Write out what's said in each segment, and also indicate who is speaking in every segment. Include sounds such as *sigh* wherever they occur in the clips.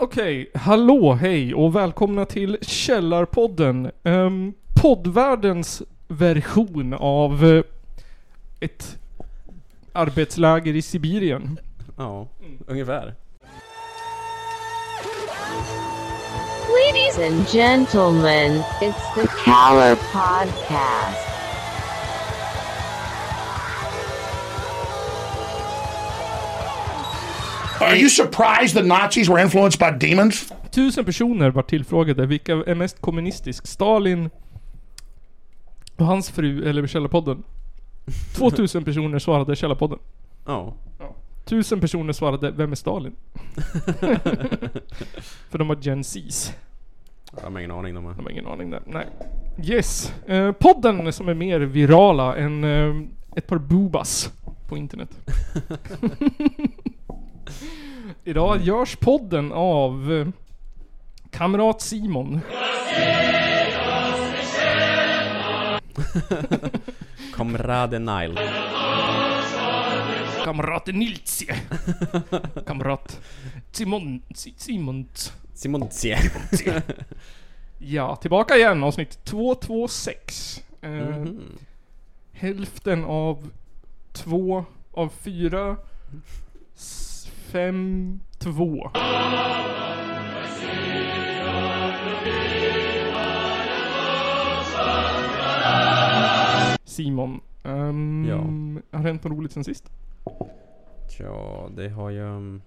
Speaker 1: Okej, hallå, hej och välkomna till Källarpodden. Um, poddvärldens version av eh, ett arbetsläger i Sibirien.
Speaker 2: Ja,
Speaker 1: Mm.
Speaker 2: ungefär.
Speaker 3: Ladies and gentlemen, it's the Caller Podcast.
Speaker 4: Are you surprised the Nazis were influenced by demons?
Speaker 1: Tusen personer var tillfrågade vilka är mest kommunistisk, Stalin och hans fru eller Källarpodden. 2000 personer svarade Källarpodden.
Speaker 2: Ja.
Speaker 1: Tusen personer svarade Vem är Stalin? *laughs* För de var Gen Z's.
Speaker 2: Jag har ingen aning. De här.
Speaker 1: De har ingen aning där. Nej. Yes. Eh, podden som är mer virala än eh, ett par boobas på internet. *laughs* Idag görs podden av eh, Kamrat Simon.
Speaker 2: Komrade Nile.
Speaker 1: Kamrat Nilsie. *laughs* Kamrat Simon... Si- Simont.
Speaker 2: Simonzie.
Speaker 1: Ja, tillbaka igen. Avsnitt 226. Eh,
Speaker 2: Mhm.
Speaker 1: hälften av två av fyra s- fem två. Simon, ehm,
Speaker 2: Ja.
Speaker 1: har det hänt något roligt sen sist?
Speaker 2: Tja, det har ju... um,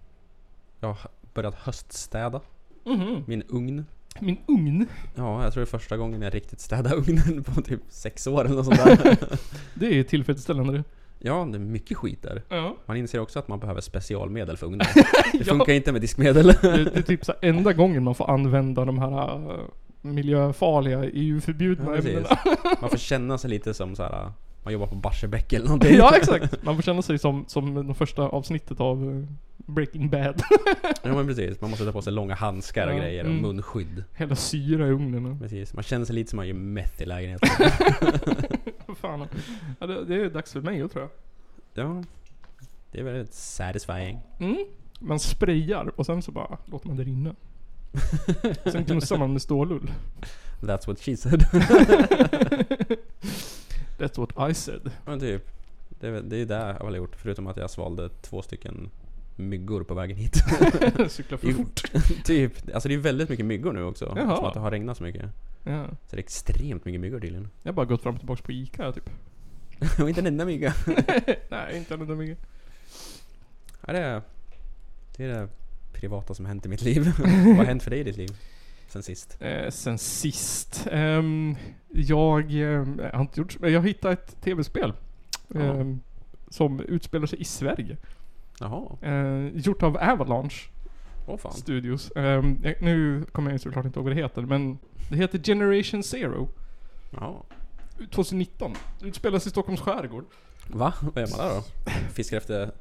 Speaker 2: Jag har börjat höststäda
Speaker 1: Mhm.
Speaker 2: min ugn.
Speaker 1: Min ugn,
Speaker 2: Ja, jag tror det är första gången jag riktigt städar ugnen på typ sex år eller något
Speaker 1: *laughs*
Speaker 2: sånt där.
Speaker 1: det är tillfredsställande det.
Speaker 2: Ja, det är mycket skit där.
Speaker 1: Ja.
Speaker 2: Man inser också att man behöver specialmedel för
Speaker 1: *laughs*
Speaker 2: ugnen. Det
Speaker 1: Ja.
Speaker 2: funkar inte med diskmedel.
Speaker 1: Det, det är typ så här enda gången man får använda de här eh, miljöfarliga
Speaker 2: Ja,
Speaker 1: EU-förbjudna
Speaker 2: *laughs* precis.
Speaker 1: ämnena.
Speaker 2: Man får känna sig lite som så här. Man jobbar på Barsebäck eller någonting.
Speaker 1: *laughs* Ja exakt, man får känna sig som, som det första avsnittet av eh, Breaking Bad.
Speaker 2: Ja men precis, man måste ta på sig långa handskar och
Speaker 1: Ja,
Speaker 2: grejer och
Speaker 1: mm.
Speaker 2: munskydd.
Speaker 1: Hela syra i ugnen.
Speaker 2: Precis, man känner sig lite som man gör meth
Speaker 1: *laughs*
Speaker 2: i lägenheten.
Speaker 1: och- Fan. Ja, det, det är dags för mig tror jag.
Speaker 2: ja, det är väldigt satisfying.
Speaker 1: Mm. Man sprayar och sen så bara låter man det
Speaker 2: *laughs*
Speaker 1: rinna. Sen gnussar man med stålull.
Speaker 2: That's what
Speaker 1: *laughs*
Speaker 2: she said.
Speaker 1: That's what I said. *laughs*
Speaker 2: men typ, det är, väl- det är det jag har gjort. Förutom att jag svalde två stycken myggor på vägen hit.
Speaker 1: Cykla för
Speaker 2: Jo.
Speaker 1: fort.
Speaker 2: *laughs* typ, alltså det är väldigt mycket myggor nu också.
Speaker 1: Jaha.
Speaker 2: Som att det har regnat så mycket.
Speaker 1: Ja.
Speaker 2: Så det är extremt mycket myggor tydligen. *laughs*
Speaker 1: Jag har bara gått fram och tillbaka på Ica här, typ.
Speaker 2: och inte en enda mygga.
Speaker 1: Nej, inte ännu mycket.
Speaker 2: Ja, det, är, det är det privata som hänt i
Speaker 1: *laughs*
Speaker 2: mitt liv. Vad har hänt för dig i ditt liv? Sen sist?
Speaker 1: Eh, sen sist. Ehm, jag ehm, har inte gjort men Jag hittade ett tv-spel.
Speaker 2: Ja.
Speaker 1: ehm, som utspelar sig i Sverige.
Speaker 2: Jaha,
Speaker 1: Eh, gjort av Avalanche
Speaker 2: åh fan.
Speaker 1: Studios. Ehm, jag, nu kommer jag såklart inte ihåg vad det heter, men det heter Generation Zero.
Speaker 2: Jaha.
Speaker 1: 2019. Utspelas i Stockholms skärgård.
Speaker 2: Va? Vad gör man där då?
Speaker 1: *laughs*
Speaker 2: Fiskar efter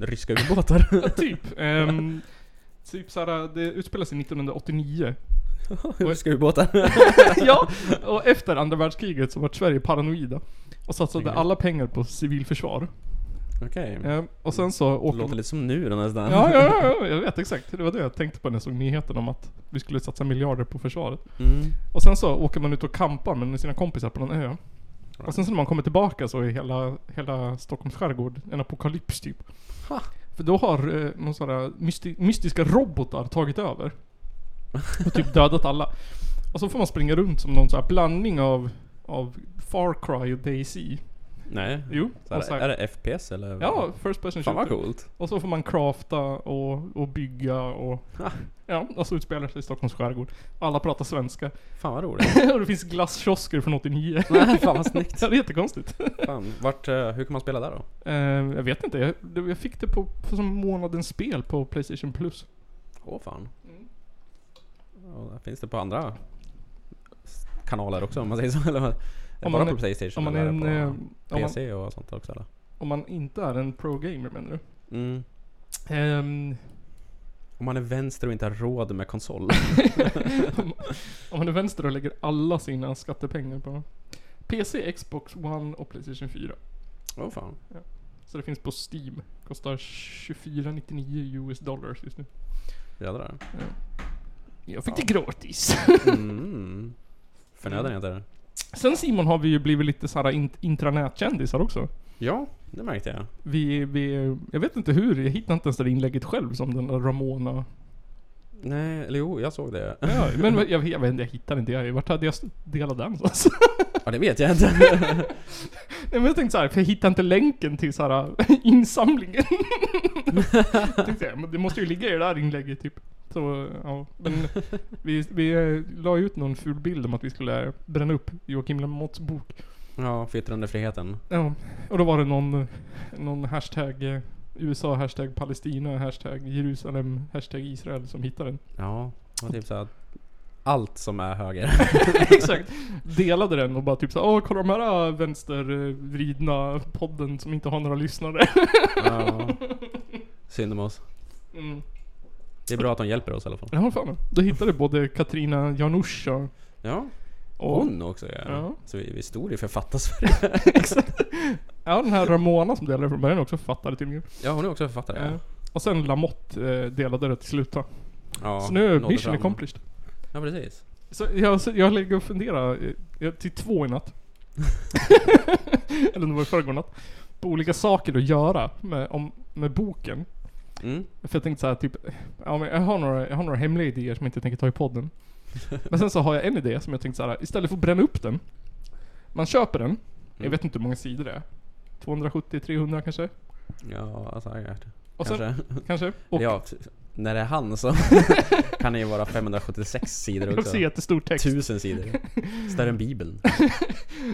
Speaker 2: ryska ubåtar?
Speaker 1: Ja, typ. Ehm, typ såhär, det utspelar sig
Speaker 2: *laughs*
Speaker 1: 1989.
Speaker 2: ryska ubåtar?
Speaker 1: ja, och efter andra världskriget så vart Sverige paranoida. Och satsade
Speaker 2: Okej.
Speaker 1: alla pengar på civilförsvar.
Speaker 2: Okej.
Speaker 1: Ehm, och sen så
Speaker 2: Det
Speaker 1: åker
Speaker 2: låter lite som nu då nästan.
Speaker 1: Ja, ja, ja, ja, jag vet exakt. Det var det jag tänkte på när jag såg nyheten om att vi skulle satsa miljarder på försvaret.
Speaker 2: Mm.
Speaker 1: Och sen så åker man ut och kampar med sina kompisar på någon ö. Och sen så när man kommer tillbaka så är hela, hela Stockholms skärgård en apokalyps typ.
Speaker 2: Ha.
Speaker 1: För då har eh, någon sån här mysti- mystiska robotar tagit
Speaker 2: *laughs*
Speaker 1: över. Och typ dödat alla. Och så får man springa runt som någon sån här blandning av, av Far Cry och DayZ.
Speaker 2: Nej.
Speaker 1: Jo.
Speaker 2: Så
Speaker 1: och så
Speaker 2: här, är
Speaker 1: här,
Speaker 2: det FPS eller?
Speaker 1: ja, First Person
Speaker 2: Fan
Speaker 1: Shooter.
Speaker 2: vad coolt.
Speaker 1: Och så får man crafta och, och bygga och...
Speaker 2: Ha.
Speaker 1: Ja, och så utspelar det sig i Stockholms skärgård. Alla pratar svenska. *laughs*
Speaker 2: Fan vad roligt.
Speaker 1: och det finns glasskiosker från
Speaker 2: *laughs*
Speaker 1: 89.
Speaker 2: Nej, fan vad snyggt.
Speaker 1: Ja, det är jättekonstigt.
Speaker 2: Fan. Vart, eh, hur kan man spela där
Speaker 1: *laughs*
Speaker 2: då?
Speaker 1: Eh, jag vet inte, jag, det- jag fick det på, på som månadens spel på Playstation Plus.
Speaker 2: Åh fan.
Speaker 1: Mm.
Speaker 2: Ja, där finns det på andra s- kanaler också om man säger så? *laughs* Eller? Är det
Speaker 1: Om
Speaker 2: bara
Speaker 1: man är-
Speaker 2: på Playstation
Speaker 1: Om man, är
Speaker 2: eller
Speaker 1: en, eh,
Speaker 2: är det
Speaker 1: om,
Speaker 2: på
Speaker 1: man,
Speaker 2: PC och sånt också eller?
Speaker 1: om man inte är en pro-gamer menar du?
Speaker 2: Mm.
Speaker 1: Ehm,
Speaker 2: Om man är vänster och inte har råd med
Speaker 1: *laughs*
Speaker 2: konsol?
Speaker 1: om, om man är vänster och lägger alla sina skattepengar på PC, Xbox One och Playstation 4.
Speaker 2: Åh fan.
Speaker 1: Så det finns på Steam. Kostar 24,99 US dollars just nu. *laughs*
Speaker 2: Jädrar.
Speaker 1: Jag fick det gratis. *laughs*
Speaker 2: Mm. Förnödan heter det.
Speaker 1: Sen Simon har vi ju blivit lite såhär int- intranätkändisar också.
Speaker 2: Ja, det märkte jag.
Speaker 1: Vi, vi, jag vet inte hur, jag hittade inte ens det där inlägget själv som den där Ramona.
Speaker 2: Nej, eller jo, jag såg det.
Speaker 1: Ja, men jag, jag vet inte, jag hittade inte det. Vart hade jag st- delat den någonstans?
Speaker 2: *laughs*
Speaker 1: *laughs*
Speaker 2: Ja, det vet jag inte. *laughs*
Speaker 1: Nej men jag tänkte såhär, för jag hittade inte länken till såhär *laughs* insamlingen. *laughs* tänkte jag, men det måste ju ligga i det där inlägget typ. Så, ja. Men vi, vi eh, la ut någon ful bild om att vi skulle bränna upp Joakim Lamotts bok.
Speaker 2: Ja, för yttrandefriheten.
Speaker 1: Ja. Och då var det någon, någon hashtag eh, USA, hashtag Palestina, hashtag Jerusalem, hashtag Israel som hittade den.
Speaker 2: Ja, och typ såhär. Allt som är höger.
Speaker 1: Exakt. Delade den och bara typ såhär, åh kolla de här eh, vänstervridna podden som inte har några lyssnare. *laughs*
Speaker 2: Ja. *laughs* Synd om oss.
Speaker 1: Mm.
Speaker 2: Det är bra att de hjälper oss i alla fall.
Speaker 1: Ja, fan. Då hittade både Katrina Janusha
Speaker 2: Ja,
Speaker 1: och...
Speaker 2: hon också ja.
Speaker 1: Ja.
Speaker 2: Så vi, vi stod ju för Författarsverige.
Speaker 1: Exakt. Ja, den här Ramona som delade från början också fattade tydligen.
Speaker 2: Ja, hon är också författare.
Speaker 1: Ja. Och sen Lamotte eh, delade det till slut då.
Speaker 2: Ja,
Speaker 1: Så nu,
Speaker 2: nådde
Speaker 1: mission
Speaker 2: fram.
Speaker 1: accomplished.
Speaker 2: Ja, precis.
Speaker 1: Så jag, så jag lägger och funderar eh, jag- till två i
Speaker 2: *laughs*
Speaker 1: natt. Eller om det var i förrgår natt. På olika saker att göra med, om, med boken.
Speaker 2: Mm.
Speaker 1: För jag tänkte såhär typ, ja, men jag, har några, jag har några hemliga idéer som jag inte tänker ta i podden. Men sen så har jag en idé som jag tänkte såhär, istället för att bränna upp den. Man köper den, jag
Speaker 2: Mm.
Speaker 1: vet inte hur många sidor det är. 270-300 kanske?
Speaker 2: Ja, säkert.
Speaker 1: Och sen,
Speaker 2: Kanske.
Speaker 1: kanske? Och
Speaker 2: Ja, t- när det är
Speaker 1: *laughs*
Speaker 2: han så kan det ju vara 576 sidor
Speaker 1: jag
Speaker 2: också.
Speaker 1: ser jättestor text. *laughs*
Speaker 2: Tusen sidor. Större än bibeln.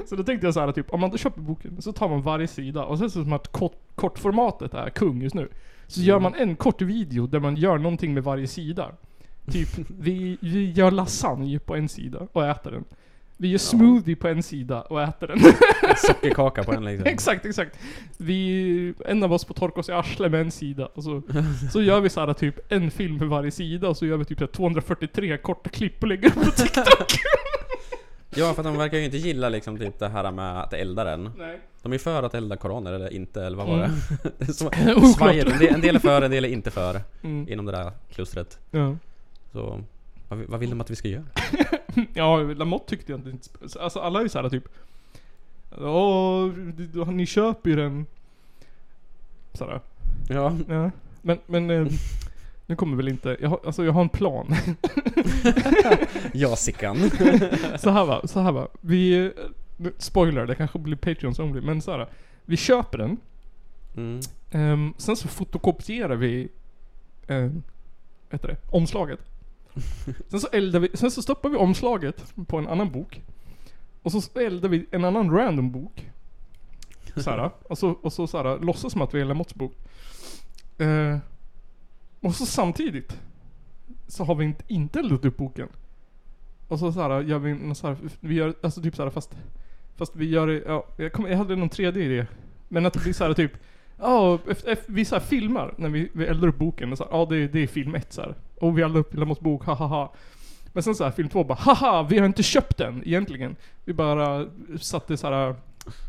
Speaker 1: Så då tänkte jag så här typ, om man då köper boken så tar man varje sida och sen så som att kort, kortformatet är kung just nu. Så gör man en kort video där man gör någonting med varje sida. Typ, vi, vi gör lasagne på en sida och äter den. Vi gör smoothie på en sida och äter den.
Speaker 2: Sockerkaka på en
Speaker 1: *laughs*
Speaker 2: liksom.
Speaker 1: exakt, exakt. Vi, en av oss får torka oss i arslet med en sida och så, så gör vi så här typ en film för varje sida och så gör vi typ så här 243 korta klipp och lägger upp på TikTok.
Speaker 2: Ja, för att de verkar ju inte gilla liksom typ det här med att elda den.
Speaker 1: Nej.
Speaker 2: De är för att elda koraner eller inte, eller vad var det? *laughs* det? är så-
Speaker 1: Mm. *laughs* Oklart.
Speaker 2: svajer. En del- En del är för, en del är inte för.
Speaker 1: Mm.
Speaker 2: Inom det där klustret.
Speaker 1: Ja.
Speaker 2: Så, vad, vi- vad vill de att vi ska göra?
Speaker 1: Ja, Lamotte tyckte jag inte... Alltså alla är ju såhär typ... Åh, du- ni köper ju den. Sådär.
Speaker 2: Ja.
Speaker 1: Ja. Men, men... eh, Nu kommer väl inte... Jag har, alltså jag har en plan.
Speaker 2: *laughs*
Speaker 1: *laughs*
Speaker 2: Ja, *laughs* Sickan.
Speaker 1: Så här va, så här va. Vi... eh, nu- Spoiler, det kanske blir Patreons only, men såhär. Vi köper den.
Speaker 2: Mm.
Speaker 1: ehm, sen så fotokopierar vi... Um, vad heter det? Omslaget. Sen så eldar vi... Sen så stoppar vi omslaget på en annan bok. Och så eldar vi en annan random bok. Såhär. Och så, och så såhär, låtsas som att vi är Lamotts bok. Eh, och så samtidigt så har vi inte, inte eldat upp boken. Och så såhär gör vi en såhär, vi gör, alltså typ såhär fast, fast vi gör det, ja, jag, kom, jag hade någon tredje idé. Men att det blir såhär typ, *laughs* ja, ef- ef- vi såhär filmar när vi, vi eldar upp boken. och så här, Ja, det, det är film ett såhär. Och vi eldar upp Lamotts bok, ha ha ha. Men sen såhär film två bara, haha, vi har inte köpt den egentligen. Vi bara satte såhär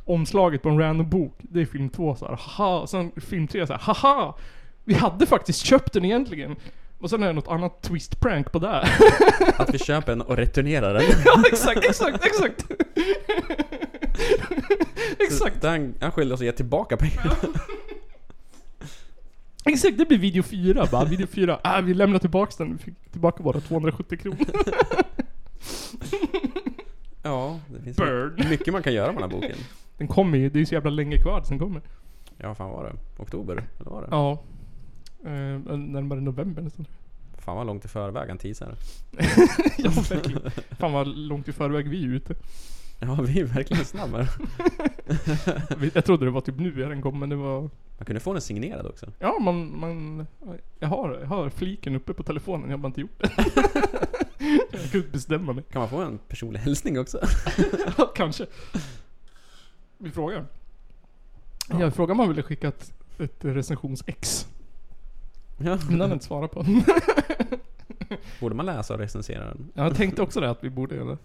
Speaker 1: omslaget på en random bok. Det är film två såhär, haha. Sen film tre såhär, haha. Vi hade faktiskt köpt den egentligen. Och sen är det något annat twist prank på det. här.
Speaker 2: Att vi köper en och returnerar den.
Speaker 1: *laughs* ja, exakt, exakt, exakt. exakt,
Speaker 2: Där Han, han skyller oss att ge
Speaker 1: *laughs*
Speaker 2: tillbaka pengarna.
Speaker 1: exakt. Det blir video 4 bara. Video 4. Ah, vi lämnar tillbaks den. Vi fick tillbaka våra 270 kronor.
Speaker 2: Ja, det finns
Speaker 1: Burn.
Speaker 2: mycket man kan göra med den här boken.
Speaker 1: Den kommer ju. Det är ju så jävla länge kvar tills den kommer.
Speaker 2: Ja, fan var det? Oktober? Eller var det?
Speaker 1: Ja. Eh, närmare november nästan.
Speaker 2: Fan vad långt i förväg han teasar.
Speaker 1: *laughs* ja, verkligen. Fan vad långt i förväg vi är ute.
Speaker 2: *laughs* Ja, vi är verkligen snabba.
Speaker 1: Vi- Jag trodde det var typ nu den kom, men det var...
Speaker 2: Man kunde få den signerad också.
Speaker 1: Ja, man... man jag, har, jag har fliken uppe på telefonen. Jag har bara inte gjort det. *laughs* jag kunde inte bestämma mig.
Speaker 2: Kan man få en personlig hälsning också? *laughs*
Speaker 1: Ja, *laughs* kanske. Vi frågar. Ja. Jag frågade om han ville skicka ett, ett recensions-ex.
Speaker 2: Ja.
Speaker 1: Men han har inte svarat *laughs* på.
Speaker 2: Borde man läsa och recensera den?
Speaker 1: Jag tänkte också det att vi borde göra det.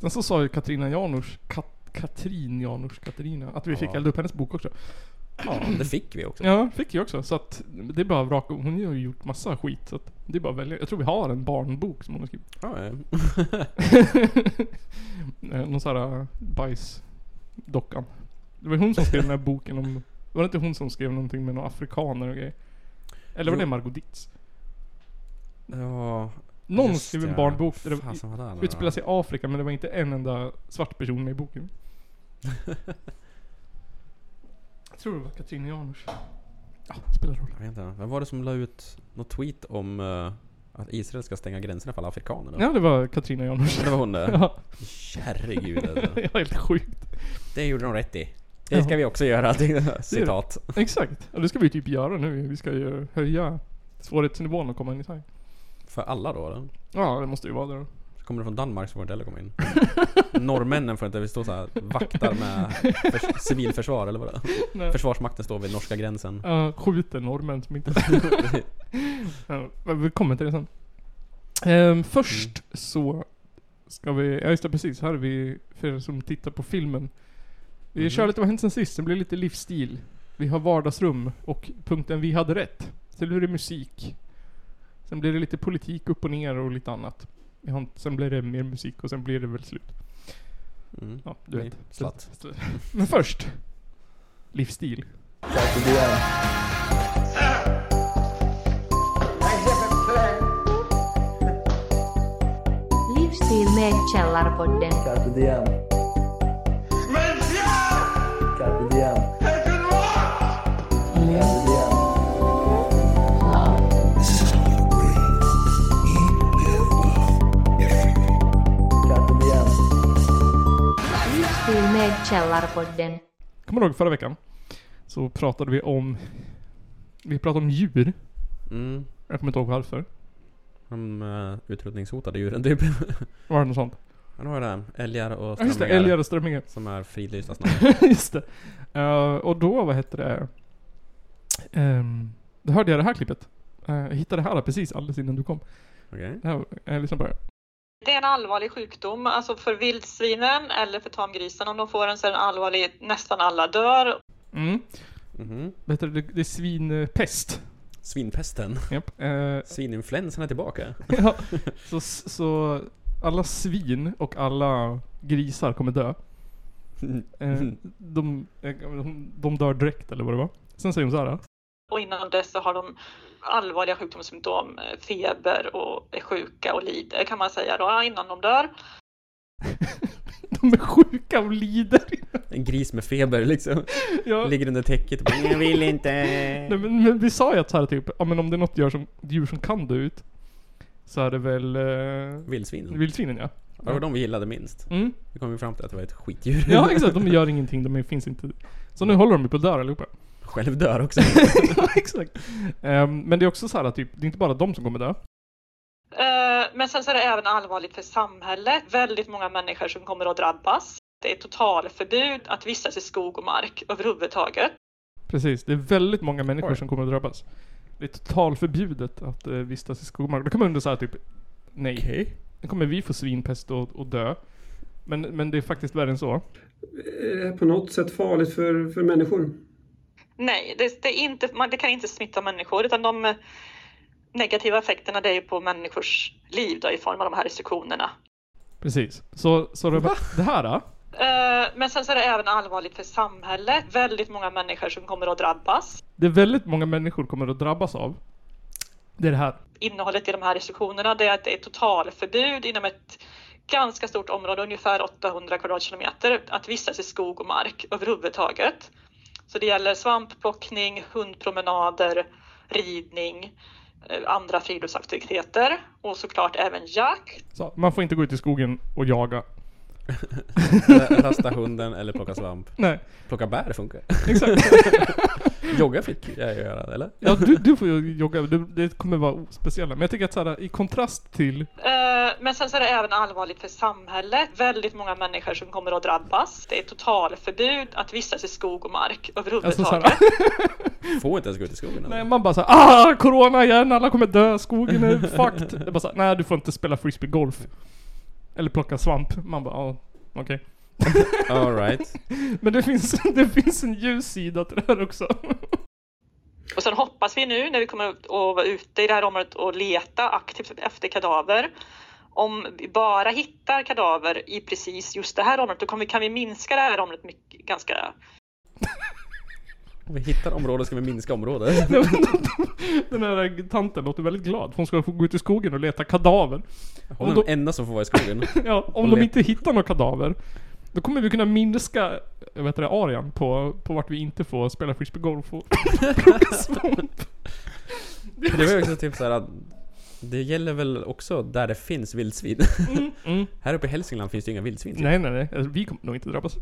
Speaker 1: Sen så sa ju Katrina Janouch, Kat, Katrin Janouch, Katarina, att vi fick
Speaker 2: Ja.
Speaker 1: elda upp hennes bok också.
Speaker 2: Ja, det fick vi också.
Speaker 1: Ja, fick jag också. Så att det är bara vraka. Hon har ju gjort massa skit. Så att det är bara att välja. Jag tror vi har en barnbok som hon har skrivit.
Speaker 2: Ja, ja.
Speaker 1: Eh, Någon sån här bajsdockan. Det var hon som skrev den här boken om... Var det inte hon som skrev någonting med några afrikaner och grejer? Eller var det
Speaker 2: Jo.
Speaker 1: Margot Ditz?
Speaker 2: ja
Speaker 1: Någon
Speaker 2: just
Speaker 1: skrev en
Speaker 2: ja.
Speaker 1: barnbok där det
Speaker 2: Fasen, vad där nu då?
Speaker 1: utspelar sig i Afrika men det var inte en enda svart person med i boken. jag *laughs* tror det var Katrin Janouch. Ja, det spelar roll.
Speaker 2: Jag vet inte, vem var det som la ut något tweet om eh, att Israel ska stänga gränserna för alla afrikaner? då?
Speaker 1: Ja, det var Katrina Janouch. *laughs*
Speaker 2: Det var hon där.
Speaker 1: Ja.
Speaker 2: Herregud
Speaker 1: *laughs*
Speaker 2: alltså.
Speaker 1: ja, helt sjukt.
Speaker 2: Det gjorde de rätt i. Det ska vi också göra. *laughs* Citat.
Speaker 1: Exakt. Ja, det ska vi typ göra nu. Vi ska ju höja svårighetsnivån och komma in i Sverige.
Speaker 2: För alla då? eller?
Speaker 1: Ja, det måste ju vara det då.
Speaker 2: Så kommer det från Danmark så får inte heller komma in. Norrmännen får inte, vi står så här vaktar med förs- civilförsvar eller vad det är.
Speaker 1: *laughs* Nej.
Speaker 2: Försvarsmakten står vid norska gränsen.
Speaker 1: Ja, skjuter norrmän som inte... *laughs* Ja, men vi kommer till det sen. Ehm, först så ska vi... Ja just det, precis. Här är vi för er som tittar på filmen. Vi
Speaker 2: Mhm.
Speaker 1: kör lite vad har hänt sen sist. Det blir lite livsstil. Vi har vardagsrum och punkten vi hade rätt. Sen blir det musik. Sen blir det lite politik upp och ner och lite annat. Vi har inte- Sen blir det mer musik och sen blir det väl slut.
Speaker 2: Mm.
Speaker 1: Ja, du vet.
Speaker 2: Slatt.
Speaker 1: *laughs* Men först. Livsstil.
Speaker 3: Livsstil med Källarpodden.
Speaker 5: Carpe diem. Carpe diem. Carpe diem. Carpe diem.
Speaker 3: Livsstil med Källarpodden.
Speaker 1: Kommer du ihåg förra veckan? Så pratade vi om... Vi pratade om djur.
Speaker 2: Mm.
Speaker 1: Jag kommer inte ihåg varför.
Speaker 2: De uh, utrotningshotade djuren typ.
Speaker 1: Var det något sånt?
Speaker 2: Ja, då har jag det. Älgar och
Speaker 1: Ja just det,
Speaker 2: strömmingar.
Speaker 1: älgar och strömmingar.
Speaker 2: Som är fridlysta
Speaker 1: *laughs*
Speaker 2: snart.
Speaker 1: just det. Eh, och då, vad hette det? Um, då hörde jag det här klippet. Eh, jag hittade det här precis alldeles innan du kom.
Speaker 2: Okej.
Speaker 1: Det här, jag lyssnar på det.
Speaker 6: Det är en allvarlig sjukdom, alltså för vildsvinen eller för tamgrisen. Om de får den så är den allvarlig, nästan alla dör.
Speaker 1: Mm.
Speaker 2: Mhm.
Speaker 1: Vad heter det? Det är svinpest.
Speaker 2: Svinpesten.
Speaker 1: Japp. Eh,
Speaker 2: Svininfluensan är tillbaka.
Speaker 1: *laughs* ja. så, så alla svin och alla grisar kommer dö. Eh, de, eh, de- de dör direkt eller vad det var. Sen säger hon så här. *laughs*
Speaker 6: Och innan dess så har de allvarliga sjukdomssymptom, eh, feber och är sjuka och lider kan man säga då, innan de dör.
Speaker 1: De är sjuka och lider. *laughs*
Speaker 2: En gris med feber liksom.
Speaker 1: ja.
Speaker 2: Ligger under täcket och bara, Jag vill inte.
Speaker 1: Nej, men, men vi sa ju att så här typ, ja men om det är något djur som, djur som kan dö ut Så är det väl eh,
Speaker 2: Vildsvinen.
Speaker 1: vildsvinen ja.
Speaker 2: Ja, Det var de vi gillade minst.
Speaker 1: Mm.
Speaker 2: Vi kom ju fram till att det var ett skitdjur.
Speaker 1: Ja exakt, de gör ingenting, de finns inte. Så nu håller de ju på att dö allihopa. *laughs*
Speaker 2: Själv dör också.
Speaker 1: ja exakt. Ehm, men det är också så här typ, det är inte bara de som kommer dö.
Speaker 6: Eh, Men sen så är det även allvarligt för samhället. Väldigt många människor som kommer att drabbas. Det är totalförbud att vistas i skog och mark överhuvudtaget.
Speaker 1: Precis, det är väldigt många människor
Speaker 2: Oj.
Speaker 1: som kommer att drabbas. Det är totalförbjudet att eh, vistas i skog och mark. Då kan man undra så här typ, nej. Nu kommer vi få svinpest och, och dö. Men, men det är faktiskt värre än så.
Speaker 7: Är det här på något sätt farligt för, för människor?
Speaker 6: Nej, det, det, är inte, man, det kan inte smitta människor utan de eh, negativa effekterna det är ju på människors liv då, i form av de här restriktionerna.
Speaker 1: Precis. Så, så det, det här då?
Speaker 6: Eh, Men sen så är det även allvarligt för samhället. Väldigt många människor som kommer att drabbas.
Speaker 1: det är väldigt många människor kommer att drabbas av. Det är det här.
Speaker 6: Innehållet i de här restriktionerna det är att det är totalförbud inom ett ganska stort område, ungefär 800 kvadratkilometer, att vistas i skog och mark överhuvudtaget. Så det gäller svampplockning, hundpromenader, ridning, eh, andra friluftsaktiviteter och såklart även jakt.
Speaker 1: Så man får inte gå ut i skogen och jaga.
Speaker 2: Rasta hunden eller plocka svamp.
Speaker 1: Nej,
Speaker 2: Plocka bär funkar.
Speaker 1: exakt.
Speaker 2: Jogga fick jag göra, eller?
Speaker 1: Ja, du, du får ju jogga. Du, det kommer vara speciella. Men jag tycker att så här, i kontrast till...
Speaker 6: Eh, Men sen så är det även allvarligt för samhället. Väldigt många människor som kommer att drabbas. Det är totalförbud att vistas i skog och mark
Speaker 1: Alltså, så
Speaker 6: överhuvudtaget.
Speaker 1: här, *laughs*
Speaker 2: Får inte ens gå ut i skogen. eller?
Speaker 1: nej, man bara såhär ah, corona igen, alla kommer dö, skogen är fucked. Det är bara såhär, nej du får inte spela frisbeegolf. Eller plocka svamp. Man bara, ah, okej.
Speaker 2: Alright.
Speaker 1: Men det finns, *laughs* det finns en ljus sida till det här också. *laughs*
Speaker 6: Och sen hoppas vi nu när vi kommer att vara ute i det här området och leta aktivt efter kadaver. Om vi bara hittar kadaver i precis just det här området, då kommer vi, kan vi minska det här området mycket, ganska...
Speaker 2: Om vi hittar områden ska vi minska området.
Speaker 1: Den här tanten låter väldigt glad för hon ska få gå ut i skogen och leta kadaver.
Speaker 2: Hon är
Speaker 1: då-
Speaker 2: den enda som får vara i skogen.
Speaker 1: Ja, om
Speaker 2: Och
Speaker 1: de
Speaker 2: leta.
Speaker 1: inte hittar några kadaver, då kommer vi kunna minska jag vet inte, arean på, på vart vi inte får spela frisbeegolf och plocka svamp.
Speaker 2: För det var ju också typ såhär att det gäller väl också där det finns vildsvin.
Speaker 1: mm.
Speaker 2: Här uppe i Hälsingland finns det ju inga vildsvin. typ.
Speaker 1: Nej, nej, nej. Alltså, vi kommer nog inte drabbas.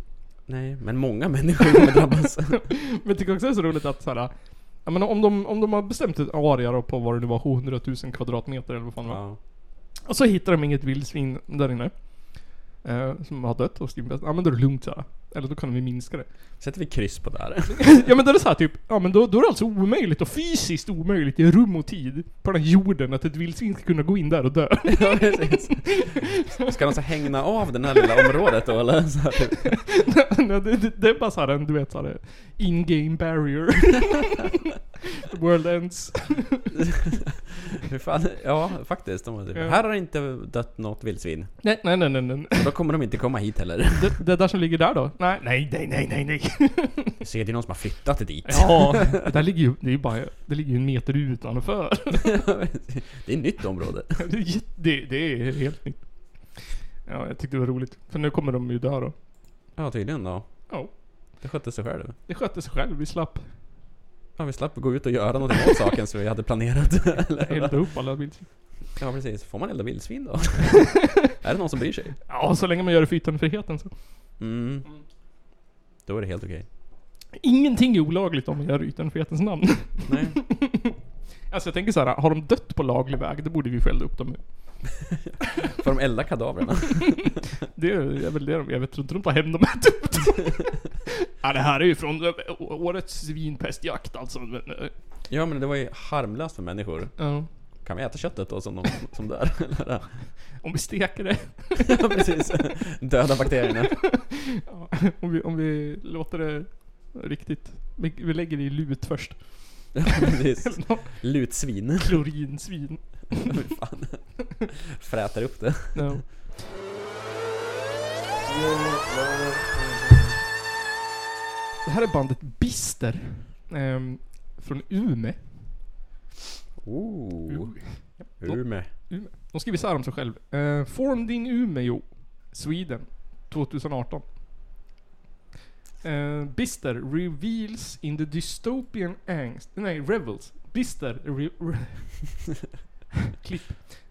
Speaker 2: Nej, men många människor kommer drabbas.
Speaker 1: Men jag tycker också det är så roligt att såhär, jag menar, om, de, om de har bestämt ett area då på vad det nu var, 100 000 kvadratmeter eller vad fan det var.
Speaker 2: ja.
Speaker 1: Och så hittar de inget vildsvin där inne. Eh, som har dött och stimpat. Ja men då är det lugnt såhär. Eller då kan vi minska det.
Speaker 2: Sätter vi kryss på där.
Speaker 1: Ja men då är det såhär typ, ja men då, då är det alltså omöjligt och fysiskt omöjligt i rum och tid på den här jorden att ett vildsvin ska kunna gå in där och dö.
Speaker 2: Ja,
Speaker 1: *laughs*
Speaker 2: precis. Ska de så hängna av det här lilla området då eller? Så här, typ.
Speaker 1: Nej, det, det, det är bara såhär en, du vet såhär in-game barrier. *laughs* The world ends.
Speaker 2: *laughs* Hur fan? Ja, faktiskt. De var typ,
Speaker 1: Ja.
Speaker 2: Här har det inte dött något vildsvin.
Speaker 1: Nej, nej, nej, nej, nej.
Speaker 2: Och då kommer de inte komma hit heller.
Speaker 1: Det, det där som ligger där då? Nej, nej, nej, nej, nej, nej.
Speaker 2: Ser det är någon som har flyttat dit? *laughs*
Speaker 1: Ja, *laughs* det där ligger ju, det är ju bara, det ligger ju en meter utanför. *laughs*
Speaker 2: Det är ett nytt område.
Speaker 1: Det är, jätte- det, det är helt nytt. Ja, jag tyckte det var roligt. För nu kommer de ju dö då.
Speaker 2: Ja, tydligen då.
Speaker 1: Ja,
Speaker 2: Det skötte sig själv.
Speaker 1: det skötte sig själv. Vi slapp
Speaker 2: Ja, vi slapp gå ut och göra någonting åt saken som vi hade planerat. *laughs* Eller?
Speaker 1: elda upp alla vildsvin.
Speaker 2: Ja, precis. Får man elda
Speaker 1: *laughs*
Speaker 2: vildsvin då? är det någon som bryr sig?
Speaker 1: Ja, så länge man gör det för yttrandefriheten så.
Speaker 2: Mm. Då är det helt okej.
Speaker 1: Ingenting är olagligt om man gör det i yttrandefrihetens namn.
Speaker 2: Nej.
Speaker 1: *laughs* Alltså jag tänker så här, har de dött på laglig väg, då borde vi få elda upp dem.
Speaker 2: Får de elda kadaverna?
Speaker 1: Det är väl det de, jag vet, tror inte de tar hem dem *laughs* och äter upp dem. ja, det här är ju från eh, å- årets svinpestjakt alltså. Men, eh,
Speaker 2: Ja, men det var ju harmlöst för människor.
Speaker 1: ja.
Speaker 2: Kan vi äta köttet då som, de, som dör? *laughs* Eller?
Speaker 1: Om vi steker det. *laughs*
Speaker 2: ja, precis. Döda bakterierna. *laughs*
Speaker 1: Ja, om, vi, om vi låter det riktigt... Vi, vi lägger det i lut först. *laughs*
Speaker 2: Ja, precis. Lutsvin. *laughs*
Speaker 1: Klorinsvin.
Speaker 2: Fy fan. Frätar upp det.
Speaker 1: No. Det här är bandet Bister. ehm, från Ume.
Speaker 2: Ooh. Ume.
Speaker 1: De skriver så här om sig själv. Eh, formed in Umeå, Sweden, 2018. Eh, Bister reveals in the dystopian angst... Nej, revels. Bister... Re, re, *laughs* klipp.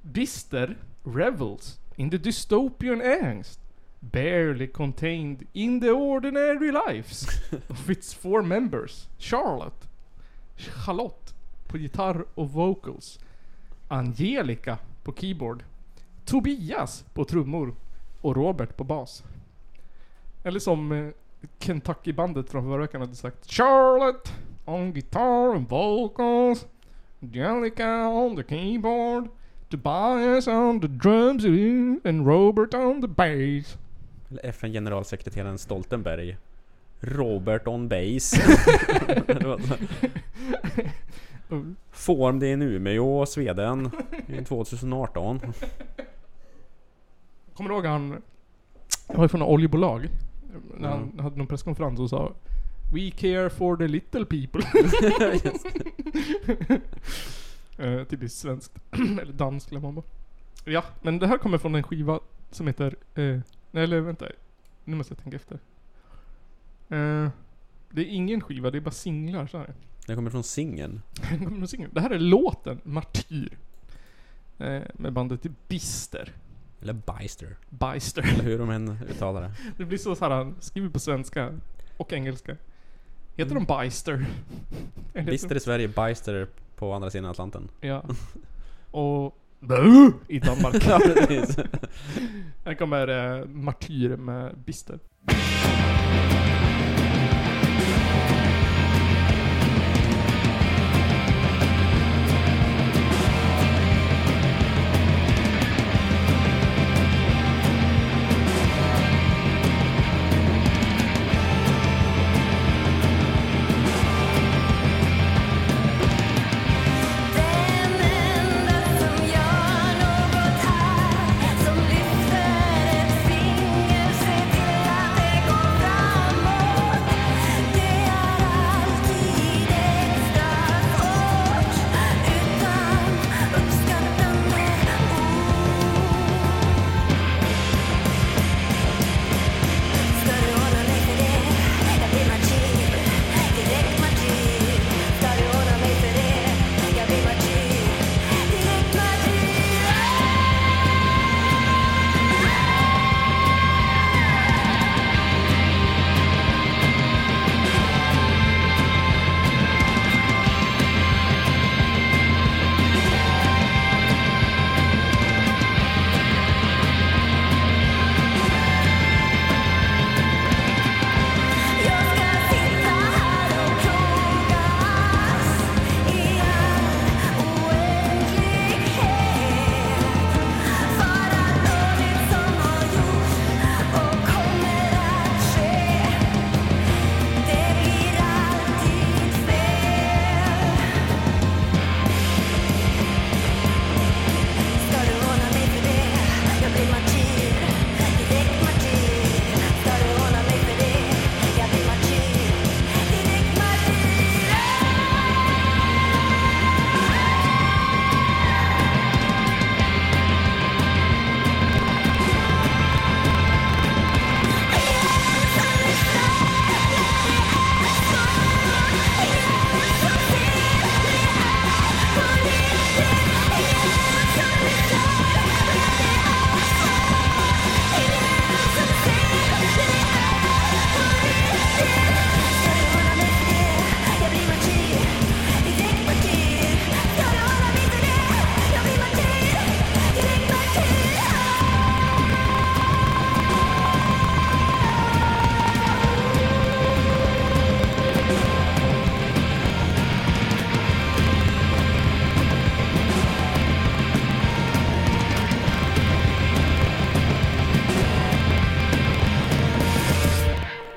Speaker 1: Bister revels in the dystopian angst. Barely contained in the ordinary lives of its four members. Charlotte. Charlotte på gitarr och vocals. Angelica på keyboard, Tobias på trummor och Robert på bas. Eller som eh, Kentucky-bandet från förra veckan hade sagt Charlotte on guitar and vocals, Angelica on the keyboard, Tobias on the drums and Robert on the bass.
Speaker 2: Eller FN-generalsekreteraren Stoltenberg. Robert on
Speaker 1: *laughs*
Speaker 2: base. Det var så. Form det i Umeå, Sweden. i 2018.
Speaker 1: *laughs* Kommer du ihåg han... Han var ju från något oljebolag. När han hade någon presskonferens och sa We care for the little people. *laughs* *laughs* uh, typiskt svenskt. *clears throat* Eller danskt eller man bara. Ja, men det här kommer från en skiva som heter... eh, nej, eller vänta. Nu måste jag tänka efter. Eh, det är ingen skiva, det är bara singlar så här. *laughs*
Speaker 2: Den kommer från singeln.
Speaker 1: Kommer singel. Det här är låten Martyr. Eh, med bandet Bister.
Speaker 2: Eller Bister.
Speaker 1: Bister. *laughs*
Speaker 2: Eller hur de än uttalar det.
Speaker 1: Det blir så såhär, skriver på svenska och engelska. Heter de Bister? *laughs* Eller heter
Speaker 2: Bister i Sverige, Bister på andra sidan Atlanten.
Speaker 1: de-
Speaker 2: *laughs*
Speaker 1: Ja. Och... I Danmark.
Speaker 2: Ja, precis.
Speaker 1: *laughs* Här kommer eh, Martyr med Bister.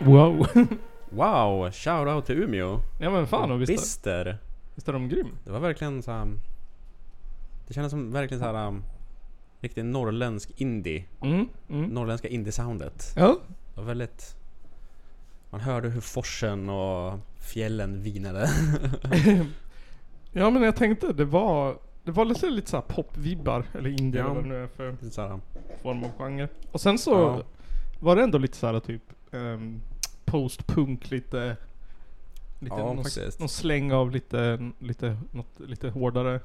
Speaker 1: Wow.
Speaker 2: Wow! Shoutout till Umeå!
Speaker 1: *laughs* ja men fan och visst, är-
Speaker 2: Bister!
Speaker 1: visst är de grym?
Speaker 2: Det var verkligen så här, Det kändes som verkligen så här um, Riktigt norrländsk indie.
Speaker 1: Mm, mm.
Speaker 2: Norrländska indie-soundet.
Speaker 1: Ja.
Speaker 2: Det var väldigt... Man hörde hur forsen och fjällen vinade. *laughs*
Speaker 1: ja men jag tänkte det var, det var lite, lite såhär popvibbar, eller indie
Speaker 2: Ja.
Speaker 1: eller vad det nu är för
Speaker 2: Lite så här,
Speaker 1: form av genre. Och sen så
Speaker 2: Ja.
Speaker 1: var det ändå lite såhär typ ehm, postpunk lite, lite
Speaker 2: Ja,
Speaker 1: någon,
Speaker 2: faktiskt.
Speaker 1: någon släng av lite, lite, något lite hårdare.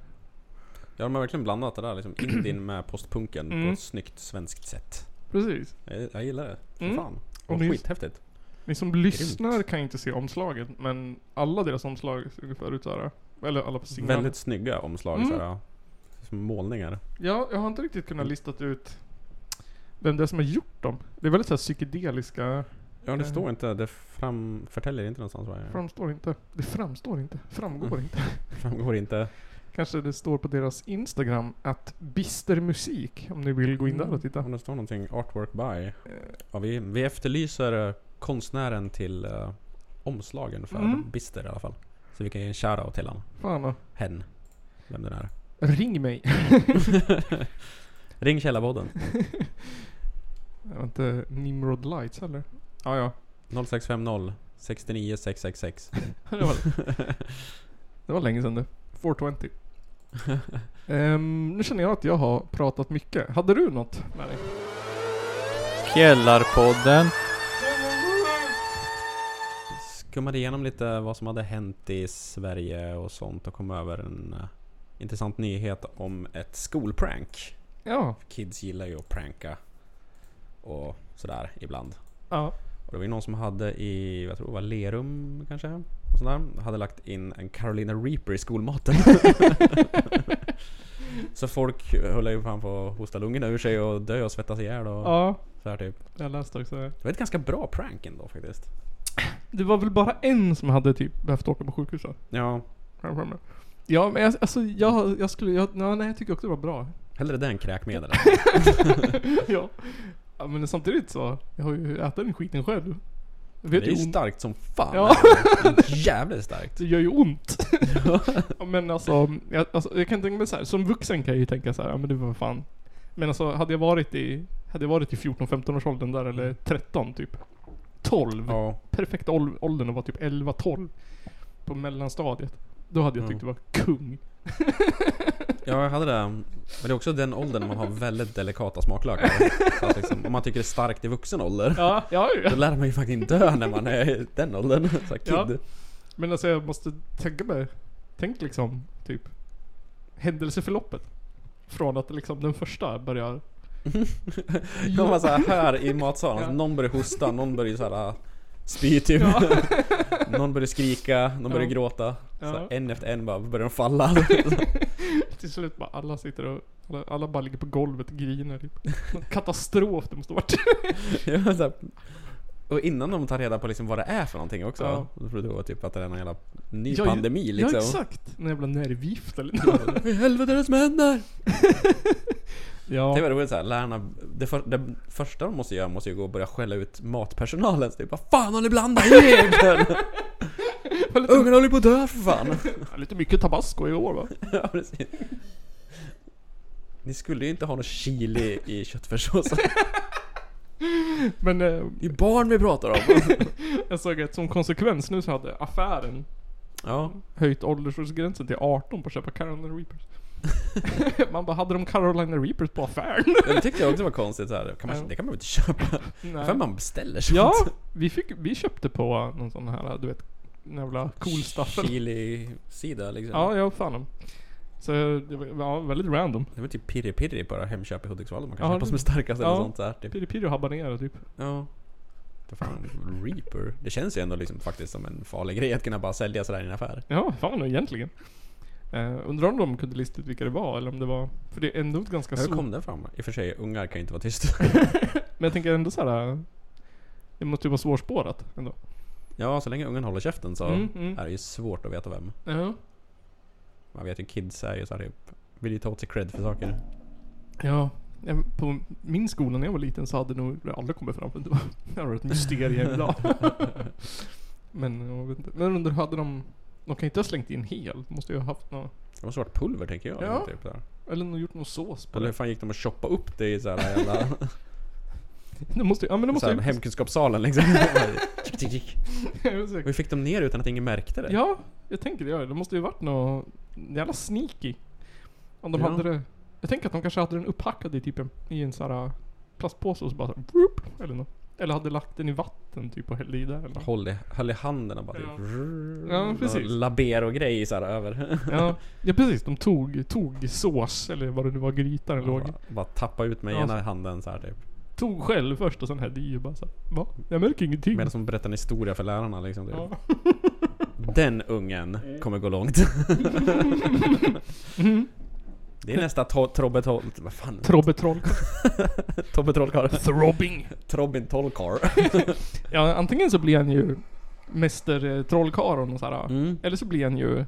Speaker 2: ja, de har verkligen blandat det
Speaker 1: *clears throat*
Speaker 2: där liksom indien med postpunken på
Speaker 1: Mm.
Speaker 2: ett snyggt svenskt sätt.
Speaker 1: Precis.
Speaker 2: Jag, jag gillar det. För
Speaker 1: Mm.
Speaker 2: fan.
Speaker 1: Och
Speaker 2: Och
Speaker 1: ni-
Speaker 2: skithäftigt.
Speaker 1: Ni som lyssnar kan inte se omslaget men alla deras omslag ser ungefär ut såhär. Eller alla på singlar.
Speaker 2: Väldigt snygga omslag.
Speaker 1: Mm.
Speaker 2: Så här, ja. Som målningar.
Speaker 1: Ja, jag har inte riktigt kunnat listat ut vem det är som har gjort dem. Det är väldigt såhär psykedeliska,
Speaker 2: Ja, det
Speaker 1: Mm.
Speaker 2: står inte. Det fram, förtäljer inte någonstans vad jag
Speaker 1: framstår inte. Det framstår inte, framgår
Speaker 2: Mm.
Speaker 1: inte.
Speaker 2: framgår inte.
Speaker 1: Kanske det står på deras Instagram att bistermusik, om ni vill gå in där och titta.
Speaker 2: Om det står någonting artwork by. Ja, vi, vi efterlyser eh, konstnären till eh, omslagen för
Speaker 1: Mm.
Speaker 2: Bister i alla fall. Så vi kan ge en shoutout till honom.
Speaker 1: Fan och.
Speaker 2: Hen. Vem den är.
Speaker 1: Ring
Speaker 2: *laughs*
Speaker 1: mig.
Speaker 2: Ring Källarpodden.
Speaker 1: Jag var inte Nimrod Lights heller. Ja, ja.
Speaker 2: 0650 69 666.
Speaker 1: Det var, det var länge sedan nu. 420. Ehm, nu känner jag att jag har pratat mycket. Hade du något med dig?
Speaker 8: Källarpodden.
Speaker 2: Skummade igenom lite vad som hade hänt i Sverige och sånt och kom över en eh, intressant nyhet om ett skolprank.
Speaker 1: Ja.
Speaker 2: Kids gillar ju att pranka och sådär ibland.
Speaker 1: Ja.
Speaker 2: Och det var ju någon som hade i, jag tror det var Lerum kanske? Och sådär, hade lagt in en Carolina Reaper
Speaker 1: *laughs*
Speaker 2: i skolmaten. så folk höll ju fan på att hosta lungorna ur sig och dö och svettas ihjäl och
Speaker 1: Ja.
Speaker 2: sådär typ.
Speaker 1: Jag läste också det.
Speaker 2: Det var ett ganska bra prank ändå faktiskt.
Speaker 1: Det var väl bara en som hade typ behövt åka på sjukhuset.
Speaker 2: Ja,
Speaker 1: har jag för mig. Ja men jag, alltså jag, jag skulle, jag, ja, nej jag tycker också det var *laughs* bra.
Speaker 2: hellre det
Speaker 1: *laughs*
Speaker 2: än kräkmedel.
Speaker 1: ja. ja. Men samtidigt så, jag har ju ätit den skiten själv. Jag
Speaker 2: Det
Speaker 1: vet
Speaker 2: är ju
Speaker 1: ju ont.
Speaker 2: starkt som fan.
Speaker 1: Ja.
Speaker 2: Det är *laughs* Jävligt starkt.
Speaker 1: Det gör ju *laughs* ont. ja, men alltså jag, alltså, jag kan tänka mig så här. som vuxen kan jag ju tänka så här, ja men det var fan. Men alltså hade jag varit i, hade jag varit i 14-15 års åldern där eller 13 typ. 12.
Speaker 2: Ja,
Speaker 1: Perfekta ål- åldern att vara typ 11-12. På mellanstadiet. Då hade jag tyckt det var kung.
Speaker 2: jag hade det. Men det är också den åldern man har väldigt
Speaker 1: *laughs*
Speaker 2: delikata smaklökar. Så att liksom, om man tycker det är starkt i vuxen ålder.
Speaker 1: Ja, *laughs* ja, ja.
Speaker 2: Då lär man ju faktiskt dö när man är i den åldern. Så här,
Speaker 1: Ja.
Speaker 2: kid.
Speaker 1: Men alltså jag måste tänka mig, tänk liksom typ händelseförloppet. Från att liksom den första börjar...
Speaker 2: Ja. Man så här, här i matsalen,
Speaker 1: Ja.
Speaker 2: någon börjar hosta, någon börjar så här ah, spy typ. *laughs* Någon börjar skrika, någon börjar
Speaker 1: Ja.
Speaker 2: gråta. Så här,
Speaker 1: Ja.
Speaker 2: En efter en bara börjar de falla.
Speaker 1: *laughs* Till slut bara alla sitter och... Alla, alla bara ligger på golvet och griner typ.
Speaker 2: *laughs*
Speaker 1: Någon Katastrof det måste ha varit.
Speaker 2: Ja, så här. Och innan de tar reda på liksom vad det är för någonting också.
Speaker 1: Ja.
Speaker 2: Då tror jag typ att det är någon jävla ny
Speaker 1: Ja, ju-
Speaker 2: pandemi liksom.
Speaker 1: Ja exakt. Någon jävla nervgift eller något.
Speaker 2: Vad *laughs* i helvete är det som händer?
Speaker 1: Ja.
Speaker 2: Det var roligt såhär, lärarna, det, för, det första de måste göra måste ju gå och börja skälla ut matpersonalen. Så typ, vad fan har ni blandat i
Speaker 1: *laughs*
Speaker 2: er egentligen? Ungarna håller ju på att dö för fan.
Speaker 1: Lite mycket tabasco i år va?
Speaker 2: *laughs* ja, precis. Ni skulle ju inte ha någon chili
Speaker 1: *laughs*
Speaker 2: i köttfärssåsen.
Speaker 1: Men eh,
Speaker 2: Det är ju barn vi pratar om.
Speaker 1: jag såg att som konsekvens nu så hade affären
Speaker 2: ja,
Speaker 1: höjt åldersgränsen till 18 på att köpa Carolina Reapers. *laughs* Man bara, hade de Carolina Reapers på affären?
Speaker 2: det tyckte jag också var konstigt. Så här. Kan man,
Speaker 1: Ja.
Speaker 2: Det kan man väl inte köpa?
Speaker 1: *laughs* Nej.
Speaker 2: Varför man beställer sånt? *laughs*
Speaker 1: Ja, vi, fick, vi köpte på någon sån här, du vet, den jävla cool staffen.
Speaker 2: Chili-sida liksom.
Speaker 1: Ja, jag fan dem. Så det var ja, väldigt random.
Speaker 2: Det var typ pirri-pirri på det här Hemköp i Hudiksvall. Man kan
Speaker 1: Ja,
Speaker 2: köpa
Speaker 1: det-
Speaker 2: som är starkast
Speaker 1: ja.
Speaker 2: eller sånt där. Typ.
Speaker 1: Piri Piri och habanero typ.
Speaker 2: Ja. Det fan, Reaper. Det känns ju ändå liksom faktiskt som en farlig grej att kunna bara sälja sådär i en affär.
Speaker 1: Ja, fan egentligen. Eh, undrar om de kunde lista ut vilka det var eller om det var... För det är ändå ett ganska
Speaker 2: Hur
Speaker 1: sol...
Speaker 2: kom den fram? I och för sig, ungar kan ju inte vara tysta.
Speaker 1: *laughs* Men jag tänker ändå så här. eh, Det måste ju vara svårspårat ändå.
Speaker 2: Ja, så länge ungen håller käften så
Speaker 1: Mm, mm.
Speaker 2: är det ju svårt att veta vem.
Speaker 1: Ja.
Speaker 2: Man vet ju kids är ju såhär typ, vill ju ta åt sig cred för saker.
Speaker 1: Ja. eh, på min skola när jag var liten så hade nog det aldrig kommit fram. Det var, det var ett mysterium
Speaker 2: *laughs*
Speaker 1: idag. Men jag vet inte. Men undrar, hade de... De kan inte ha slängt in hel. Måste ju ha haft något...
Speaker 2: Det måste varit pulver tänker jag.
Speaker 1: Ja.
Speaker 2: Typ, där.
Speaker 1: Eller nog gjort någon sås på
Speaker 2: Eller hur
Speaker 1: det.
Speaker 2: fan gick de och choppa upp det i så här jävla...
Speaker 1: det måste, ju- ja men det
Speaker 2: så
Speaker 1: måste
Speaker 2: här,
Speaker 1: ju... *laughs*
Speaker 2: hemkunskapssalen liksom. Tick, tick, tick.
Speaker 1: Jag är säker.
Speaker 2: Och hur fick de ner det utan att ingen märkte det?
Speaker 1: Ja, jag tänker det. ja. Det måste ju varit något jävla sneaky. Om de
Speaker 2: Ja.
Speaker 1: hade det... Jag tänker att de kanske hade den upphackad i typ en, i en sån här plastpåse och så bara så här, broop, eller något. Eller hade lagt den i vatten typ och hällde i där eller något.
Speaker 2: Håll i, höll i handen och bara
Speaker 1: Ja.
Speaker 2: typ...
Speaker 1: Ja, precis.
Speaker 2: Labero-grej så här över.
Speaker 1: Ja, ja precis. De tog, tog sås eller vad det nu var grytan låg i.
Speaker 2: Bara, bara tappa ut med
Speaker 1: Ja,
Speaker 2: ena handen så här typ.
Speaker 1: Tog själv först och sen hällde i och bara så här, Va? Jag märker ingenting.
Speaker 2: Medan de berättar en historia för lärarna liksom. Typ.
Speaker 1: Ja.
Speaker 2: Den ungen kommer gå långt. Det är nästa to- Trobbe Tol... Vad fan? *laughs*
Speaker 1: Trobbetroll.
Speaker 2: Tobbe Trollkarl.
Speaker 1: Throbbing.
Speaker 2: Trobbin Trollkarl.
Speaker 1: Ja, antingen så blir han ju Mäster eh, Trollkarlen och så här.
Speaker 2: Mm.
Speaker 1: Eller så blir han ju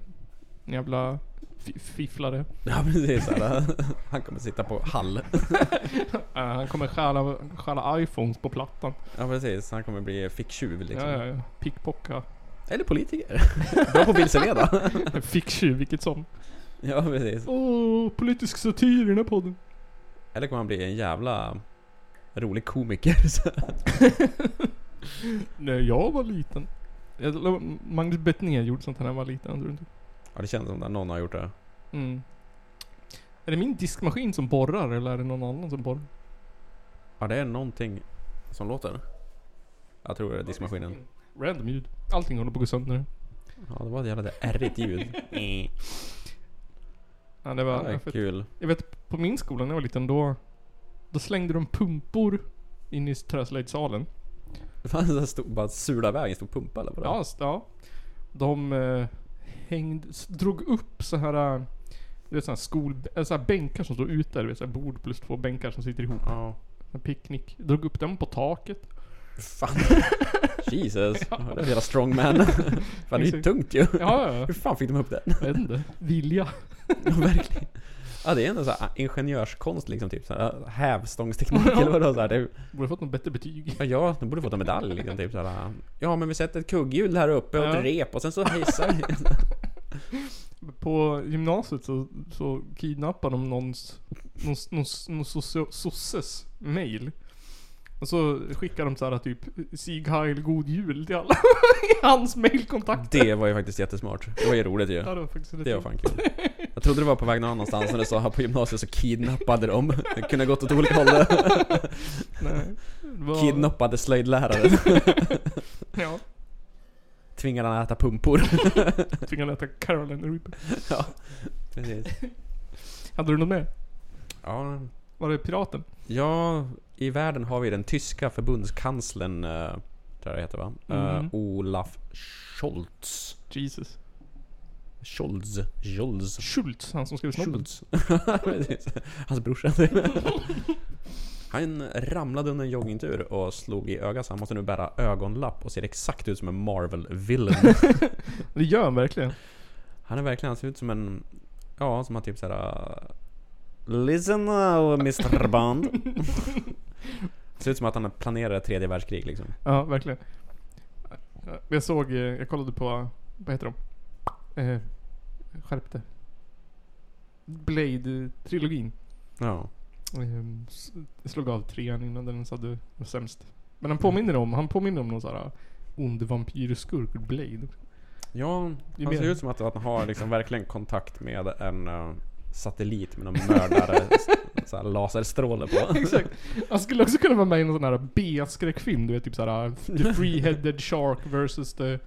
Speaker 1: en jävla fi- fifflare.
Speaker 2: *laughs* Ja precis. så här. Han kommer sitta på hall.
Speaker 1: Eh, han kommer stjäla, stjäla iPhones på plattan.
Speaker 2: Ja precis. Han kommer bli ficktjuv liksom.
Speaker 1: Ja, ja, ja. Pickpocka. *laughs*
Speaker 2: Eller politiker. Bra på att vilseleda.
Speaker 1: Ficktjuv, vilket som.
Speaker 2: Ja precis.
Speaker 1: Åh, politisk satir i den här podden.
Speaker 2: Eller kommer han bli en jävla rolig komiker. *laughs* så här.
Speaker 1: När jag var liten. Jag, lo- Magnus Bettner gjorde sånt här när han var liten, tror du inte?
Speaker 2: Ja det känns som att någon har gjort det.
Speaker 1: Mm. Är det min diskmaskin som borrar eller är det någon annan som borrar?
Speaker 2: Ja det är någonting som låter. Jag tror det är diskmaskinen.
Speaker 1: Random ljud. Allting håller på att gå sönder.
Speaker 2: Ja det var ett jävla
Speaker 1: *laughs*
Speaker 2: ärrigt ljud.
Speaker 1: Ja, det
Speaker 2: Ja,
Speaker 1: var,
Speaker 2: det är
Speaker 1: för-
Speaker 2: kul.
Speaker 1: Jag vet på min skola när jag var liten då Då slängde de pumpor in i träslöjdsalen.
Speaker 2: Det fanns en stor, bara sula väg, en stor pumpa eller vadå?
Speaker 1: Ja, s- ja. De eh, hängde, s- drog upp så här eh, du vet såna här, skol, äh, så här bänkar som står ute, du vet så här bord plus två bänkar som sitter ihop.
Speaker 2: Ja.
Speaker 1: En picknick. Drog upp dem på taket. *laughs*
Speaker 2: Fan. Jesus. Ja. Det är en jävla strongman. Fan det är ju
Speaker 1: Exakt.
Speaker 2: tungt ju.
Speaker 1: Ja, ja, ja.
Speaker 2: Hur fan fick de upp den?
Speaker 1: Jag vet inte. Vilja.
Speaker 2: Ja, verkligen. Ja det är ändå såhär ingenjörskonst liksom typ. Såhär, hävstångsteknik eller vadå? Såhär, det,
Speaker 1: Borde fått något bättre betyg.
Speaker 2: ja, ja, de borde fått en medalj liksom typ. Såhär, ja men vi sätter ett kugghjul här uppe och
Speaker 1: Ja.
Speaker 2: ett rep och sen så hissar vi.
Speaker 1: *laughs* På gymnasiet så, så kidnappade de någons, någons, någons, någons socio- sosses mail. Och så skickade de så här typ Sieg Heil god jul till alla *laughs* i hans mailkontakt.
Speaker 2: Det var ju faktiskt jättesmart. Det var ju roligt ju.
Speaker 1: Ja, det var faktiskt lite
Speaker 2: Det var fan kul. Jag trodde det var på väg någon annanstans när du sa här på gymnasiet så kidnappade de. Det kunde ha gått åt olika håll.
Speaker 1: Nej. Det var-
Speaker 2: Kidnappade slöjdläraren.
Speaker 1: Ja.
Speaker 2: Tvingade han att äta pumpor. *laughs*
Speaker 1: Tvingade äta Caroline Reaper.
Speaker 2: ja, precis.
Speaker 1: Hade du något mer?
Speaker 2: Ja,
Speaker 1: Var det piraten?
Speaker 2: ja, i världen har vi den tyska förbundskanslern, eh, tror jag det heter va? Eh,
Speaker 1: Mhm.
Speaker 2: Olaf Scholz.
Speaker 1: Jesus.
Speaker 2: Scholz. Scholz.
Speaker 1: Schultz, han som skrev snobben.
Speaker 2: Schultz. Precis. *laughs* Hans brorsa. *laughs* Han ramlade under en joggingtur och slog i ögat så han måste nu bära ögonlapp och ser exakt ut som en Marvel-villain.
Speaker 1: Det gör han verkligen.
Speaker 2: Han är verkligen, han ser ut som en... Ja, som har typ såhär... Listen now Mr Bond. ser ut som att han planerar ett tredje världskrig liksom.
Speaker 1: Ja, verkligen. Jag såg, eh, jag kollade på, vad heter de? Eh, skärpte. Blade-trilogin.
Speaker 2: Ja.
Speaker 1: Ehm, s- Jag slog av trean innan den så hade var sämst. Men han påminner om, han påminner om någon sån här ond vampyrskurk ur Blade.
Speaker 2: Ja,
Speaker 1: Ju
Speaker 2: han ser
Speaker 1: mer-
Speaker 2: ut som att han har liksom verkligen kontakt med en eh, satellit med någon mördare s- så här laserstråle
Speaker 1: *laughs*
Speaker 2: på.
Speaker 1: Exakt. Han skulle också kunna vara med i någon sån här B-skräckfilm, du vet typ såhär The Three-Headed Shark versus the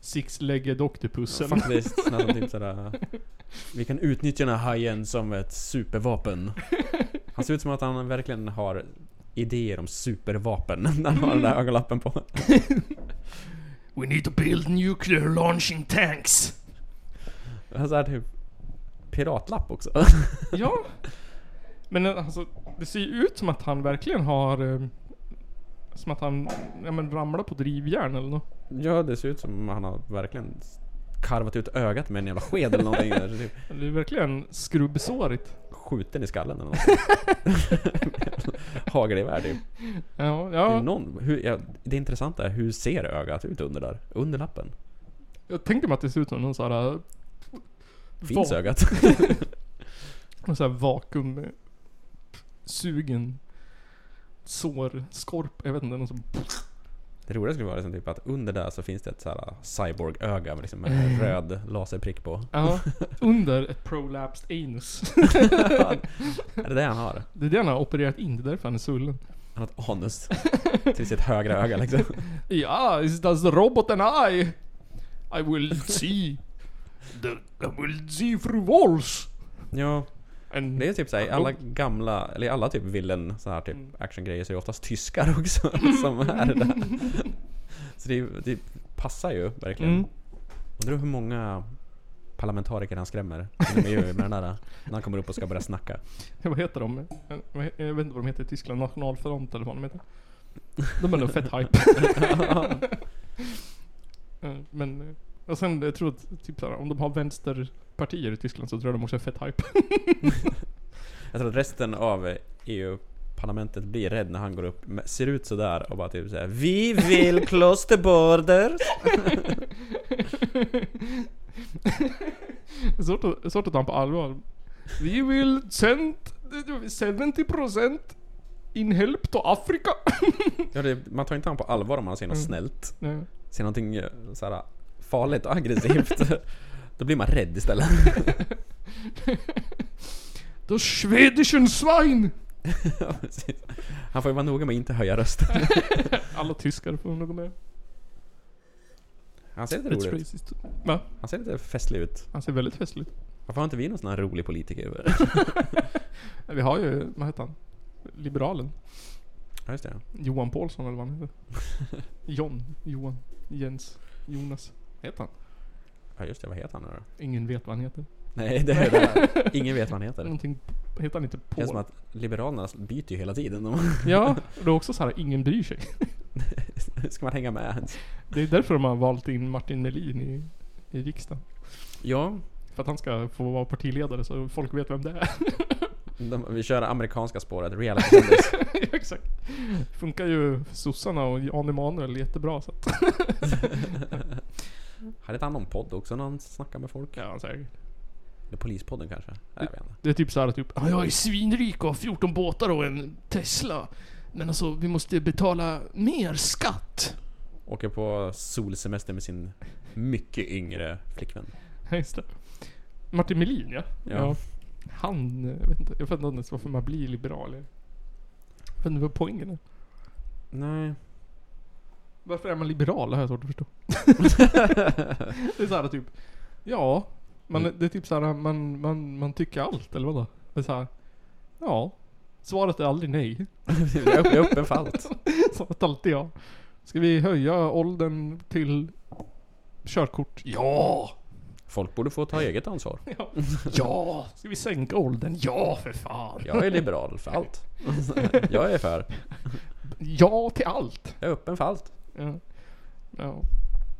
Speaker 1: Six-Legged Octopus. eller något.
Speaker 2: Faktiskt, nästan typ sådär... Vi kan utnyttja den här hajen som ett supervapen. Han ser ut som att han verkligen har idéer om supervapen *laughs* när han har den där ögonlappen på.
Speaker 1: We need to build nuclear launching tanks.
Speaker 2: Han har typ piratlapp också. *laughs*
Speaker 1: Ja. Men eh, alltså, det ser ju ut som att han verkligen har... eh, Som att han ja, men, ramlar på drivjärn eller något.
Speaker 2: Ja, det ser ut som han har verkligen karvat ut ögat med en jävla sked eller någonting. Där. Så Typ
Speaker 1: Det är verkligen skrubbsårigt.
Speaker 2: skjuten i skallen eller något.
Speaker 1: *laughs*
Speaker 2: Hagelgevär typ.
Speaker 1: Ja,
Speaker 2: Det, är
Speaker 1: ja.
Speaker 2: någon, hur, ja, det intressanta är hur ser ögat ut under där? Under lappen?
Speaker 1: Jag tänker mig att det ser ut som någon sån här... eh,
Speaker 2: Finns
Speaker 1: va-
Speaker 2: ögat?
Speaker 1: någon sån här vakuum... eh, Sugen... Sårskorp. Jag vet inte. Någon sån...
Speaker 2: Det roliga skulle vara liksom typ att under där så finns det ett så här cyborg-öga med liksom
Speaker 1: Mm.
Speaker 2: en röd laserprick
Speaker 1: *laughs*
Speaker 2: på.
Speaker 1: Ja. Under ett prolapsed anus.
Speaker 2: Är det det han har?
Speaker 1: Det är det han har opererat in. Det är därför han är svullen.
Speaker 2: Han har ett anus till sitt högra öga liksom.
Speaker 1: Ja, it's does the robot and I. I will see. The, I will see through walls.
Speaker 2: Ja,
Speaker 1: And
Speaker 2: det är typ såhär, i alla gamla, eller i alla typ villen så här typ
Speaker 1: Mm.
Speaker 2: actiongrejer så är det oftast tyskar också *laughs* som är
Speaker 1: *laughs*
Speaker 2: där. Så det, det passar ju verkligen.
Speaker 1: Mm.
Speaker 2: Undrar hur många parlamentariker han skrämmer inom EU med den där, när han kommer upp och ska börja snacka.
Speaker 1: Vad heter de? Eh, vad he- Jag vet inte vad de heter i Tyskland. Nationalfront eller vad de heter. De är nog fett hype. Eh, Men... eh, Och sen jag tror att typ såhär, om de har vänsterpartier i Tyskland så tror jag de också är fett hype.
Speaker 2: Jag tror att resten av EU-parlamentet blir rädd när han går upp, med- ser ut sådär och bara typ såhär Vi vill close the borders!
Speaker 1: Det är *laughs* Svårt att, svårt att ta honom på allvar. Vi vill send 70% in help to Afrika.
Speaker 2: Ja, det, man tar inte han på allvar om man ser något snällt.
Speaker 1: *laughs* Nej.
Speaker 2: Ser någonting eh, såhär farligt och aggressivt. *laughs* Då blir man rädd istället. *laughs*
Speaker 1: The Schwedischen Schwein!
Speaker 2: Ja, precis. han får ju vara noga med att inte höja rösten.
Speaker 1: Alla tyskar får nog gå med.
Speaker 2: Han ser lite
Speaker 1: It's
Speaker 2: rolig ut.
Speaker 1: racist. Va?
Speaker 2: Han ser lite festlig ut.
Speaker 1: Han ser väldigt festlig ut.
Speaker 2: Varför har inte vi någon sån här rolig politiker? *laughs*
Speaker 1: Vi har ju, vad heter han? Liberalen.
Speaker 2: Ja, just det.
Speaker 1: Johan Paulsson eller vad
Speaker 2: *laughs*
Speaker 1: han heter. John, Johan, Jens, Jonas. Heter han?
Speaker 2: Ja, just det. Vad heter han nu då?
Speaker 1: Ingen vet vad han heter.
Speaker 2: Nej, det
Speaker 1: *laughs*
Speaker 2: är det. Ingen vet vad han heter. Det
Speaker 1: Någonting, heter han inte
Speaker 2: känns som
Speaker 1: Paul?
Speaker 2: att Liberalerna byter ju hela tiden.
Speaker 1: Ja, det är också så här, ingen bryr sig.
Speaker 2: De- *laughs* Ska man hänga med ens?
Speaker 1: Det är därför de har valt in Martin Melin i, i riksdagen.
Speaker 2: Ja,
Speaker 1: För att han ska få vara partiledare så folk vet vem det är. *laughs*
Speaker 2: de, vi kör amerikanska spåret.
Speaker 1: *laughs*
Speaker 2: Realitykändis.
Speaker 1: Ja, Exakt. Funkar ju för sossarna och Jan Emanuel jättebra så att...
Speaker 2: Hade inte han någon podd också när han snackade med folk?
Speaker 1: Ja, säkert.
Speaker 2: Eller polispodden kanske? Nej, Jag vet inte.
Speaker 1: Det är typ såhär typ, "Ja, jag är svinrik och har 14 båtar och en Tesla. Men alltså vi måste betala mer skatt. *laughs*
Speaker 2: Åker på solsemester med sin mycket yngre flickvän.
Speaker 1: Ja, Just det. Martin Melin ja.
Speaker 2: Ja.
Speaker 1: Han, eh, jag vet inte, jag vet inte ens varför man blir liberal. Jag vet inte vad poängen är.
Speaker 2: Nej. *laughs*
Speaker 1: Varför är man liberal? Det har jag svårt att *laughs* förstå. det är såhär typ, ja. Man, det är typ såhär, man, man, man tycker allt eller vadå? Det är såhär, ja. Svaret är aldrig nej. *laughs*
Speaker 2: Jag är upp- jag är öppen för allt.
Speaker 1: Svaret är alltid ja. Ska vi höja åldern till körkort? Ja!
Speaker 2: Folk borde få ta eget ansvar.
Speaker 1: Ja! ja. Ska vi sänka åldern? Ja för fan! Ja,
Speaker 2: Jag är liberal
Speaker 1: *laughs*
Speaker 2: för allt. Jag är för.
Speaker 1: till allt!
Speaker 2: Jag är öppen för allt.
Speaker 1: Ja. ja.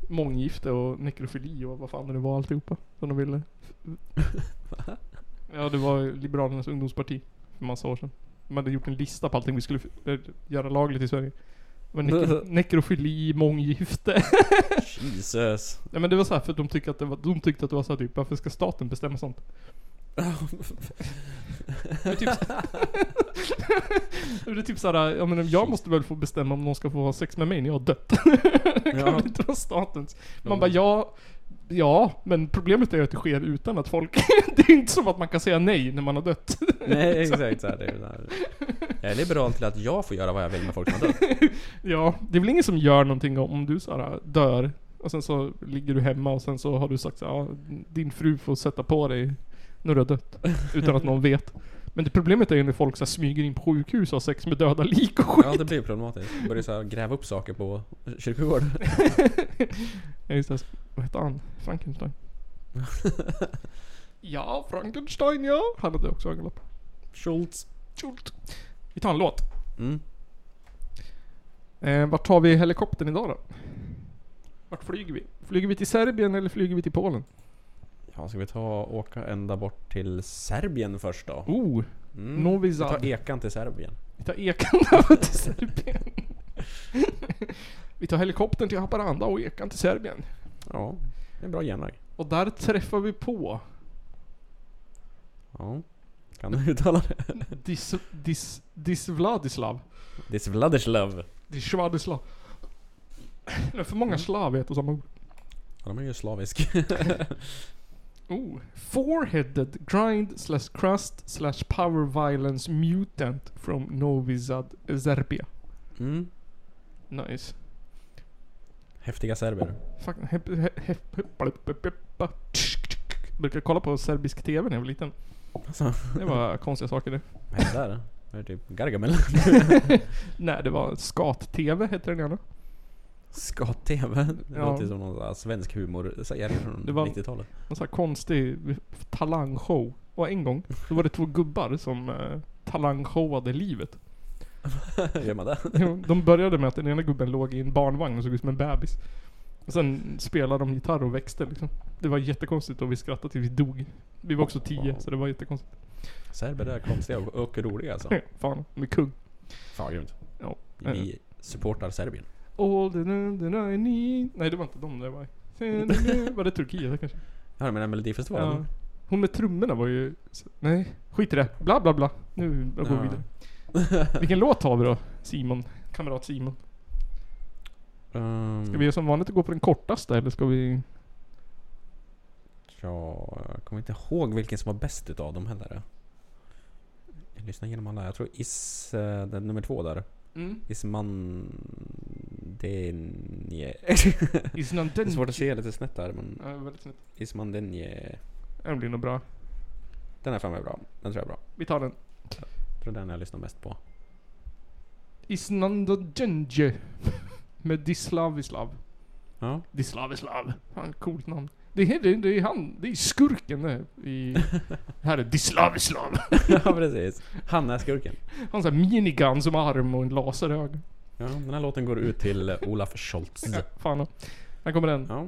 Speaker 1: Månggifte och nekrofili och vad fan det nu var alltihopa som de ville. Ja, det var Liberalernas ungdomsparti för massa år sedan. De hade gjort en lista på allting vi skulle f- eh, göra lagligt i Sverige. Det var nekro nekrofili, månggifte. *laughs*
Speaker 2: Jesus.
Speaker 1: Nej men det var så här för att de tyckte att det var, de tyckte att det var så här typ, varför ska staten bestämma sånt? det är typ, det är typ såhär, jag menar, jag måste väl få bestämma om någon ska få ha sex med mig när jag har dött. *laughs* det kan
Speaker 2: Ja.
Speaker 1: väl inte vara statens. Man
Speaker 2: Mm.
Speaker 1: bara, ja, ja, men problemet är ju att det sker utan att folk, *laughs* det är ju inte som att man kan säga nej när man har dött.
Speaker 2: *laughs* Nej, exakt så här, det är så här. Jag är liberal till att jag får göra vad jag vill med folk som har dött.
Speaker 1: ja, det är väl ingen som gör någonting om du såhär dör. Och sen så ligger du hemma och sen så har du sagt så här, ja, din fru får sätta på dig när du har dött. Utan att någon vet. Men det problemet är ju när folk så här, smyger in på sjukhus och har sex med döda lik och skit.
Speaker 2: Ja, det blir problematiskt. Börjar så här, gräva upp saker på kyrkogård.
Speaker 1: *laughs* Ja, just det. Vad hette han?
Speaker 2: *laughs*
Speaker 1: Frankenstein? ja, Frankenstein ja. Han hade också ögonlopp.
Speaker 2: Schultz.
Speaker 1: Tjult. Vi tar en låt.
Speaker 2: Mm.
Speaker 1: Eh, vart tar vi helikoptern idag då? Vart flyger vi? Flyger vi till Serbien eller flyger vi till Polen?
Speaker 2: Fan, ska vi ta och åka ända bort till Serbien först då? Mm.
Speaker 1: Oh! Novi
Speaker 2: Vi tar E-
Speaker 1: Sad.
Speaker 2: ekan till Serbien.
Speaker 1: Vi tar ekan över till Serbien. *laughs* Vi tar helikoptern till Haparanda och ekan till Serbien.
Speaker 2: Ja, det är en bra järnväg.
Speaker 1: Och där träffar vi på
Speaker 2: Ja. Kan du uttala det?
Speaker 1: Dis... Dis... Dis Vladislav.
Speaker 2: This Vladislav.
Speaker 1: Dis Vladislav. Det är för många slav i ett och samma ord.
Speaker 2: Ja, de är ju slavisk.
Speaker 1: Oh. Four-headed grind slash crust slash power violence mutant from Novi Sad, Serbia.
Speaker 2: Mm.
Speaker 1: Nice.
Speaker 2: Häftiga serber.
Speaker 1: Fuck, hepp- hepp- hepp- hepp- hepp- hepp- hepp- tsk, tsk. Brukade kolla på serbisk TV när jag var liten.
Speaker 2: Alltså,
Speaker 1: Det var konstiga saker det.
Speaker 2: vad hände där? Var det typ Gargamel?
Speaker 1: Nej, det var Skat-TV hette den gärna.
Speaker 2: Skat-TV? Det
Speaker 1: Ja.
Speaker 2: låter ju som någon sån här svensk humor-serie från
Speaker 1: Det var-
Speaker 2: 90-talet.
Speaker 1: En sån här konstig talangshow. Och en gång, då var det två gubbar som eh, talangshowade livet.
Speaker 2: *laughs* Gör man det?
Speaker 1: De började med att den ena gubben låg i en barnvagn och såg ut som en bebis. Och sen spelade de gitarr och växte liksom. Det var jättekonstigt och vi skrattade tills vi dog. Vi var också tio, så det var jättekonstigt.
Speaker 2: Serber är konstiga och, och
Speaker 1: *laughs*
Speaker 2: roliga alltså.
Speaker 1: Fan, de är kung.
Speaker 2: Fan grymt.
Speaker 1: Ja.
Speaker 2: Vi supportar Serbien.
Speaker 1: All the love that I need. Nej, det var inte dem det var. *laughs* Var det Turkiet kanske?
Speaker 2: Ja, du menar Melodifestivalen?
Speaker 1: Ja. Hon med trummorna var ju... Nej, skit i det. Bla bla bla. Nu jag går vi
Speaker 2: Ja.
Speaker 1: vidare. Vilken låt har vi då? Simon. Kamrat Simon.
Speaker 2: Mm. Ehm,
Speaker 1: Ska vi göra som vanligt och gå på den kortaste eller ska vi...
Speaker 2: Ja, jag kommer inte ihåg vilken som var bäst utav dem heller. Jag lyssnar igenom alla. Jag tror Is... eh, Den nummer två där.
Speaker 1: Mm.
Speaker 2: Isman... Denje.
Speaker 1: Isnan
Speaker 2: *laughs* Det är
Speaker 1: den...
Speaker 2: svårt att se lite snett där men...
Speaker 1: Ja, väldigt snyggt.
Speaker 2: Isman Denje.
Speaker 1: Den blir nog bra.
Speaker 2: Den är fan är bra. Den tror jag är bra.
Speaker 1: Vi tar den.
Speaker 2: Jag tror den jag lyssnar mest på.
Speaker 1: Isnan Djenje. *laughs* Med Dislavislav.
Speaker 2: Ja.
Speaker 1: Dislavislav. Fan, coolt namn. Det är, det, är- det är han. Det är skurken där. I... *laughs* Här är Dislavislav.
Speaker 2: *laughs* ja, precis. Han är skurken.
Speaker 1: *laughs* Han har en minigun som arm och en laserögon.
Speaker 2: Ja, den här låten går ut till eh, Olaf Scholz.
Speaker 1: Ja, fan. Här kommer den.
Speaker 2: Ja.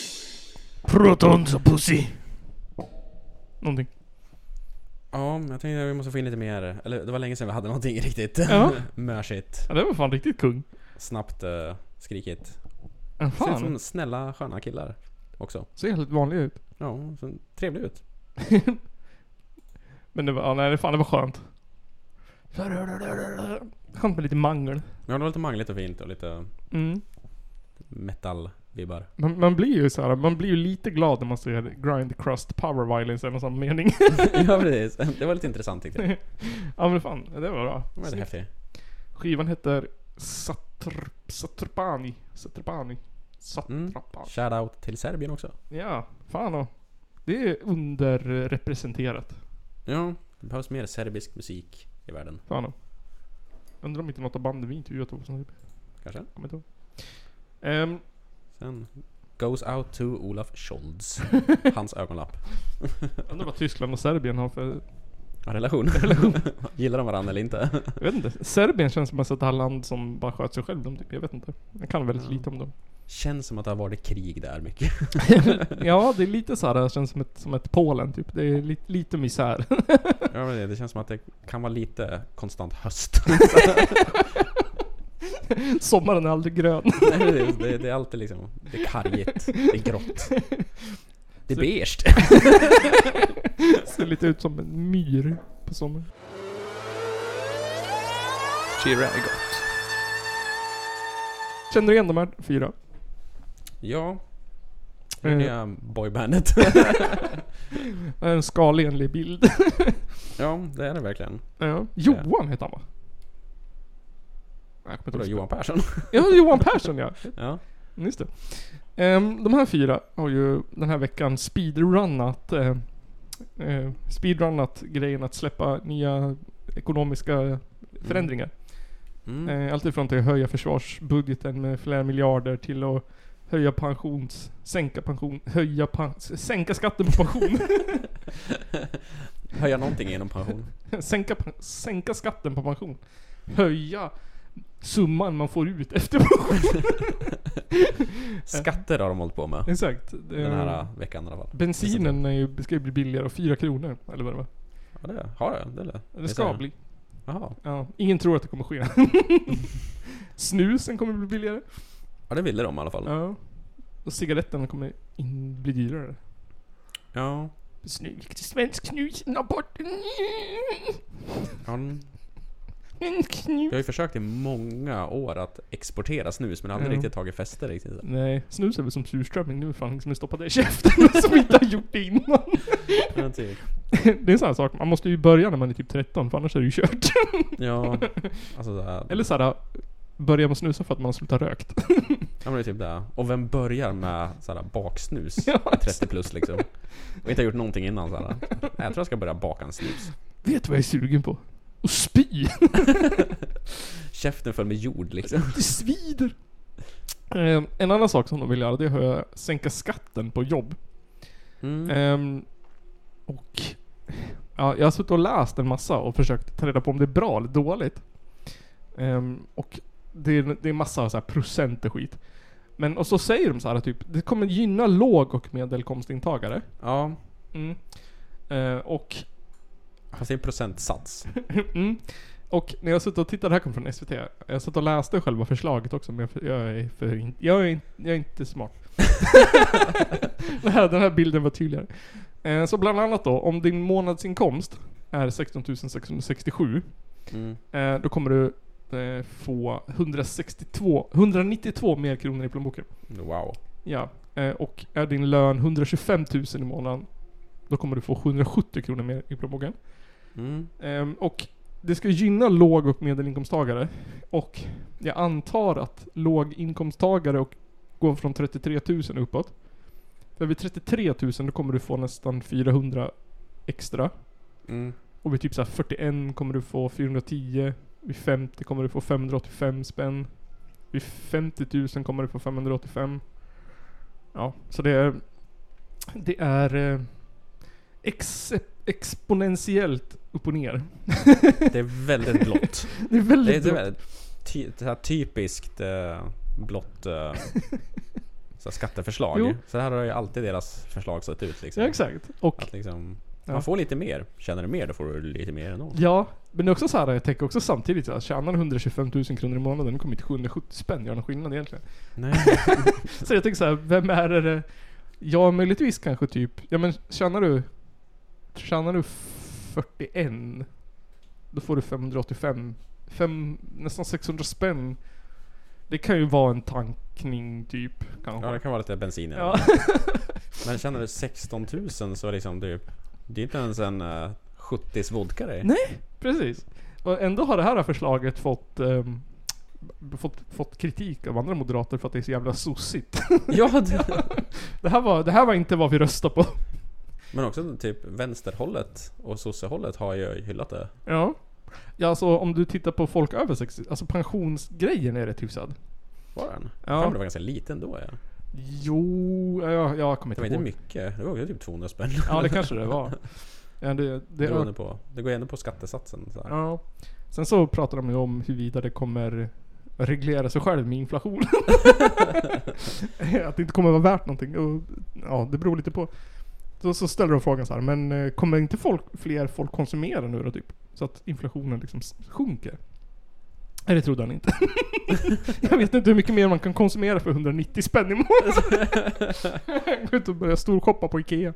Speaker 1: Protons och pussy. Någonting.
Speaker 2: Ja, jag tänkte att vi måste få in lite mer. Eller det var länge sedan vi hade någonting riktigt
Speaker 1: Ja.
Speaker 2: *laughs* mörsigt.
Speaker 1: Ja, det var fan riktigt kung.
Speaker 2: Snabbt, eh, skrikigt.
Speaker 1: Ja,
Speaker 2: Ser ut
Speaker 1: Fan.
Speaker 2: som snälla, sköna killar också.
Speaker 1: Ser helt vanlig ut.
Speaker 2: Ja, så trevlig ut.
Speaker 1: Men det var, ja, nej, fan det var skönt. Skönt med lite mangel.
Speaker 2: Ja, det var lite mangligt och fint och lite
Speaker 1: Mm.
Speaker 2: metal-vibbar.
Speaker 1: Man, man blir ju så här, man blir ju lite glad när man ser grind crust power violence eller någon sån mening.
Speaker 2: *laughs*
Speaker 1: *laughs*
Speaker 2: ja, precis. Det var lite intressant tyckte jag.
Speaker 1: ja men fan, det var bra.
Speaker 2: Det var lite häftigt.
Speaker 1: Skivan heter Satr, Satrpani. Satrpani.
Speaker 2: Mm.
Speaker 1: Satrapani.
Speaker 2: Shoutout till Serbien också.
Speaker 1: Ja, fan och. Det är underrepresenterat.
Speaker 2: Ja, det behövs mer serbisk musik i världen.
Speaker 1: Fan och. Undrar om inte något av banden vi intervjuat var på sån typ.
Speaker 2: Kanske.
Speaker 1: Kommer inte ihåg. Ehm,
Speaker 2: Sen... Goes out to Olaf
Speaker 1: *laughs*
Speaker 2: Scholz. Hans ögonlapp.
Speaker 1: undrar vad Tyskland och Serbien har för... *laughs*
Speaker 2: Ja, relation. Gillar de varandra eller inte?
Speaker 1: Jag vet inte. Serbien känns mest som ett land som bara sköt sig själv. De typ. Jag vet inte. Jag kan väldigt lite om dem.
Speaker 2: Känns som att det har varit krig där mycket.
Speaker 1: *laughs* ja, det är lite så här. Det känns som ett, som ett Polen typ. Det är lite, lite misär.
Speaker 2: *laughs*
Speaker 1: *laughs*
Speaker 2: Ja, men det, det känns som att det kan vara lite konstant *laughs* höst.
Speaker 1: Sommaren är aldrig grön. *laughs*
Speaker 2: Nej, precis. det, det är alltid liksom, det är kargigt, det är grått. Det är
Speaker 1: Så-
Speaker 2: beige.
Speaker 1: Ser lite ut som en myr på sommaren.
Speaker 2: Cheera är gott.
Speaker 1: Känner du igen de här fyra?
Speaker 2: Ja. Det
Speaker 1: Eh,
Speaker 2: är boybandet.
Speaker 1: det är en skalenlig bild.
Speaker 2: *laughs*
Speaker 1: *laughs*
Speaker 2: ja, det är det verkligen.
Speaker 1: ja. Johan heter han va? Nej, jag kommer inte
Speaker 2: Vadå,
Speaker 1: ihåg.
Speaker 2: Johan Persson?
Speaker 1: Ja, Johan Persson ja.
Speaker 2: *laughs* ja.
Speaker 1: Just det. Ehm, de här fyra har ju den här veckan speedrunnat eh, eh, speedrunnat grejen att släppa nya ekonomiska förändringar.
Speaker 2: Mm.
Speaker 1: Mm. Alltifrån till att höja försvarsbudgeten med flera miljarder till att höja pensions... Sänka pension... Höja pen, Sänka skatten på pension. *laughs*
Speaker 2: Höja någonting genom pension.
Speaker 1: sänka, pen- sänka skatten på pension. Höja summan man får ut efter pension.
Speaker 2: Skatter har de hållit på med.
Speaker 1: Exakt.
Speaker 2: Den
Speaker 1: Ehm,
Speaker 2: här äh, veckan i alla fall.
Speaker 1: Eh. Bensinen är ju, ska ju bli billigare, och 4 kronor. Eller vad det var.
Speaker 2: Ja, det har jag. Det, det.
Speaker 1: Det ska bli.
Speaker 2: Jaha.
Speaker 1: Ja, ingen tror att det kommer
Speaker 2: *laughs*
Speaker 1: ske. Snusen kommer bli billigare.
Speaker 2: Ja, det ville de i alla fall.
Speaker 1: Ja. Och cigaretterna kommer in, bli dyrare.
Speaker 2: Ja.
Speaker 1: Snus, svensk snus, *laughs* abort.
Speaker 2: ja.
Speaker 1: Svensk
Speaker 2: Jag
Speaker 1: snus.
Speaker 2: har ju försökt i många år att exportera snus, men jag har aldrig
Speaker 1: Ja.
Speaker 2: riktigt tagit fäste riktigt.
Speaker 1: Nej, snus är väl som surströmming. Nu är det fan ingen som är stoppad i käften *laughs* som inte har gjort det innan. *laughs*
Speaker 2: Men typ.
Speaker 1: Det är en sån här sak, man måste ju börja när man är typ 13 för annars är det ju kört. *laughs*
Speaker 2: Ja, alltså så här.
Speaker 1: Eller såhär, börja med snusa för att man har slutat rökt. *laughs*
Speaker 2: Ja men det är typ det. Och vem börjar med såhär baksnus?
Speaker 1: Ja,
Speaker 2: Ja, 30 plus liksom. Och inte har gjort någonting innan såhär. Nej, jag tror jag ska börja baka en snus.
Speaker 1: Vet du vad jag är sugen på? Och spy! *laughs*
Speaker 2: Käften full med jord liksom.
Speaker 1: Det svider! Eh, en annan sak som de vill göra, det är att sänka skatten på jobb.
Speaker 2: Mm.
Speaker 1: Ehm, och... Ja, jag har suttit och läst en massa och försökt ta reda på om det är bra eller dåligt. Ehm, och det är, det är massa så här procent och skit. Men och så säger de så här typ, det kommer gynna låg och medelkomstintagare.
Speaker 2: Ja,
Speaker 1: Mm. Eh, och
Speaker 2: fast det är en procentsats.
Speaker 1: *laughs* Mm. Och när jag satt och tittade, det här kom från SVT. Jag satt och läste själva förslaget också men jag, för, jag, är, för, in- jag, är, in- jag är inte smart. det här, den här bilden var tydligare. Eh, så bland annat då, om din månadsinkomst är 16 667.
Speaker 2: Mm.
Speaker 1: Eh, då kommer du eh, få 162, 192 mer kronor i plånboken.
Speaker 2: Wow.
Speaker 1: Ja. Eh, och är din lön 125 000 i månaden. Då kommer du få 770 kronor mer i plånboken.
Speaker 2: Mm.
Speaker 1: Ehm, och det ska gynna låg och medelinkomsttagare. Och jag antar att låginkomsttagare och går från 33 000 uppåt. För vid 33 000 då kommer du få nästan 400 extra.
Speaker 2: Mm.
Speaker 1: Och vid typ så här 41 kommer du få 410. Vid 50 kommer du få 585 spänn. Vid 50 000 kommer du få 585. Ja, så det är... Det är... Eh, ex, exponentiellt upp och ner. *laughs*
Speaker 2: Det är väldigt blått.
Speaker 1: Det är väldigt
Speaker 2: Det
Speaker 1: *laughs*
Speaker 2: är typ ett
Speaker 1: bra.
Speaker 2: väldigt ty- det här typiskt eh,
Speaker 1: *laughs*
Speaker 2: blått eh, så här skatteförslag.
Speaker 1: Jo.
Speaker 2: Så här har ju alltid deras förslag sett ut liksom.
Speaker 1: Ja, exakt. Och
Speaker 2: Att liksom,
Speaker 1: Ja.
Speaker 2: man får lite mer. Känner du mer, då får du lite mer ändå.
Speaker 1: ja, men det är också så här, jag tänker också samtidigt så här, tjänar du 125 000 kronor i månaden, nu kommer inte 770 spänn göra någon skillnad egentligen.
Speaker 2: Nej.
Speaker 1: Så jag tänker så här, vem är det? Ja, möjligtvis kanske typ, ja men tjänar du, tjänar du 41, då får du 585, fem, nästan 600 spänn. Det kan ju vara en tankning typ, kanske.
Speaker 2: Ja, det kan vara lite bensin i
Speaker 1: Ja. *laughs*
Speaker 2: ja. Men känner du 16 000 så liksom det, det är inte ens en uh, 70s vodka det.
Speaker 1: Nej. Precis. Och ändå har det här förslaget fått, ehm, b- fått, fått kritik av andra moderater för att det är så jävla sossigt. *laughs*
Speaker 2: Ja, det.
Speaker 1: Det här var, det här var inte vad vi röstade på.
Speaker 2: Men också typ vänsterhållet och sossehållet har ju hyllat det.
Speaker 1: Ja. Ja alltså om du tittar på folk över 60, alltså pensionsgrejen är rätt hyfsad.
Speaker 2: Var den?
Speaker 1: Ja.
Speaker 2: Ja. Fan, det var ganska liten då ja.
Speaker 1: Jo, jag, jag kommer
Speaker 2: Det
Speaker 1: inte
Speaker 2: var inte
Speaker 1: ihåg.
Speaker 2: mycket. Det var ju typ 200 spänn.
Speaker 1: Ja det kanske det var. Ja, det, det,
Speaker 2: *laughs* Beroende på. Det går ju ändå på skattesatsen. Så här.
Speaker 1: ja. Sen så pratar de ju om huruvida det kommer reglera sig själv med inflationen. *laughs* att det inte kommer vara värt någonting. Och, ja, det beror lite på. Så, så ställer de frågan så här, men eh, kommer inte folk, fler folk konsumera nu då typ? Så att inflationen liksom s- sjunker. Nej, det trodde han inte. *laughs* jag vet inte hur mycket mer man kan konsumera för 190 spänn i månaden. *laughs* Gå ut och börja storshoppa på Ikea.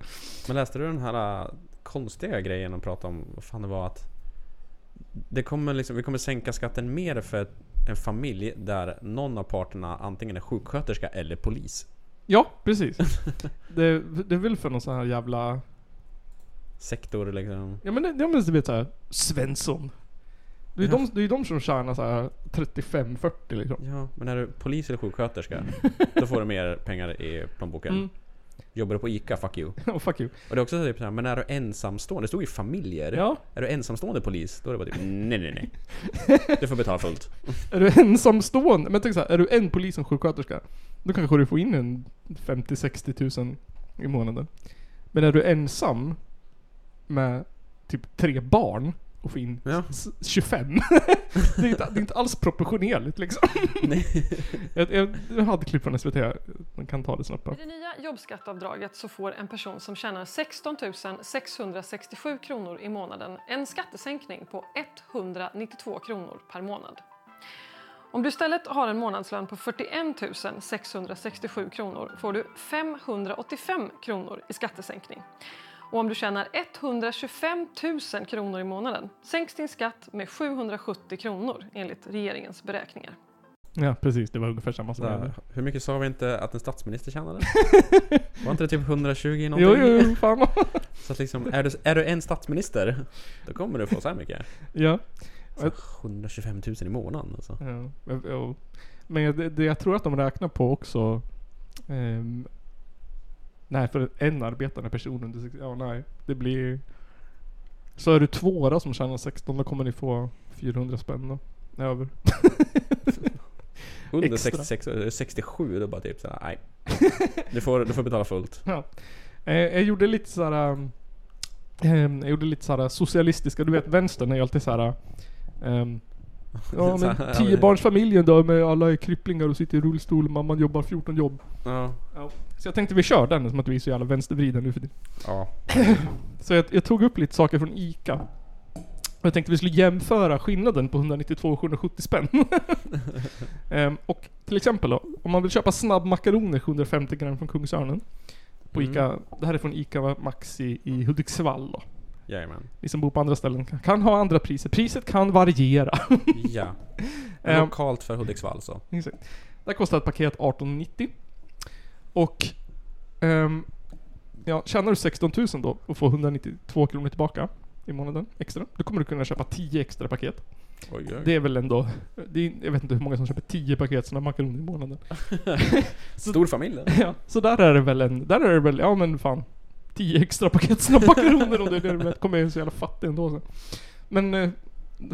Speaker 2: Men läste du den här äh, konstiga grejen de pratade om? Vad fan det var att... Det kommer liksom, vi kommer sänka skatten mer för ett- en familj där någon av parterna antingen är sjuksköterska eller polis.
Speaker 1: Ja, precis. Det, det är väl för någon sån här jävla...
Speaker 2: Sektor liksom.
Speaker 1: Ja men det, ja, men du vet såhär, Svensson. Det är ju de, det är ju de som tjänar såhär 35-40 liksom.
Speaker 2: Ja, men är du polis eller sjuksköterska,
Speaker 1: *laughs*
Speaker 2: då får du mer pengar i plånboken.
Speaker 1: Mm.
Speaker 2: Jobbar du på ICA, fuck you.
Speaker 1: *laughs* Ja, Oh, fuck you.
Speaker 2: Och det är också typ såhär, men är du ensamstående? Det stod ju familjer.
Speaker 1: Ja.
Speaker 2: Är du ensamstående polis? Då är det bara typ, nej nej nej. Du får betala fullt.
Speaker 1: Är du ensamstående? Men tänk såhär, är du en polis och en sjuksköterska? Då kanske du får in en 50-60 tusen i månaden. Men är du ensam med typ tre barn och får in
Speaker 2: Ja.
Speaker 1: s- 25. *laughs* det, är inte, det är inte alls proportionerligt liksom.
Speaker 2: *laughs* Nej.
Speaker 1: Jag, jag, jag hade klipp från SVT, man kan ta det snabbt.
Speaker 8: Med det nya jobbskatteavdraget så får en person som tjänar 16 667 kronor i månaden en skattesänkning på 192 kronor per månad. Om du istället har en månadslön på 41 667 kronor får du 585 kronor i skattesänkning. Och om du tjänar 125 000 kronor i månaden sänks din skatt med 770 kronor enligt regeringens beräkningar.
Speaker 1: Ja precis, det var ungefär samma som
Speaker 2: Där.
Speaker 1: hände.
Speaker 2: Hur mycket sa vi inte att en statsminister tjänade?
Speaker 1: *laughs*
Speaker 2: Var inte det typ 120 någonting?
Speaker 1: Jo, jo, jo, fan.
Speaker 2: Så att liksom, är du, är du en statsminister, då kommer du få så här mycket.
Speaker 1: ja.
Speaker 2: Så 125 000 i månaden alltså.
Speaker 1: Ja, men- ja. Men jag- det, det jag tror att de räknar på också... ehm, nej, för en arbetande person under 60... Ja, nej. Det blir... Så är du två då som tjänar 16, då kommer ni få 400 spänn då. Över.
Speaker 2: Under
Speaker 1: Extra.
Speaker 2: 66, eller 67, då bara typ såhär,
Speaker 1: *laughs*
Speaker 2: nej. Du får, du får betala fullt.
Speaker 1: Ja. Eh, jag gjorde lite såhär... ehm, jag gjorde lite såhär socialistiska, du vet vänstern är ju alltid såhär...
Speaker 2: *laughs*
Speaker 1: ehm, ja
Speaker 2: Så
Speaker 1: men
Speaker 2: här, ja,
Speaker 1: tiobarnsfamiljen då med alla är krypplingar och sitter i rullstol, mamman jobbar 14 jobb.
Speaker 2: Ja.
Speaker 1: Så jag tänkte vi kör den som att vi är så jävla vänstervridna nu för tiden.
Speaker 2: ja.
Speaker 1: Så jag, jag tog upp lite saker från ICA. Och jag tänkte vi skulle jämföra skillnaden på 192 och 770 spänn. Ehm, och till exempel då, om man vill köpa snabbmakaroner 750 gram från Kungsörnen. På
Speaker 2: Mm.
Speaker 1: ICA, det här är från ICA Maxi i Hudiksvall då.
Speaker 2: Jajamän.
Speaker 1: Ni som bor på andra ställen kan- kan ha andra priser. Priset kan variera. *laughs*
Speaker 2: Ja.
Speaker 1: Ehm.
Speaker 2: Lokalt för Hudiksvall så.
Speaker 1: Exakt. Där kostar ett paket 18,90. Och... ehm, ja, tjänar du 16 000 då och får 192 kronor tillbaka i månaden extra. Då kommer du kunna köpa 10 extra paket.
Speaker 2: Oj, oj.
Speaker 1: Det
Speaker 2: *laughs*
Speaker 1: är väl ändå... Det är, jag vet inte hur många som köper 10 paket sådana makaroner i månaden.
Speaker 2: Stor familj då.
Speaker 1: Ja, så där är det väl en... Där är det väl... Ja men fan. 10 extra paket sådana makaroner och det är det du vet, kommer jag så jävla fattig ändå sen. Men... eh,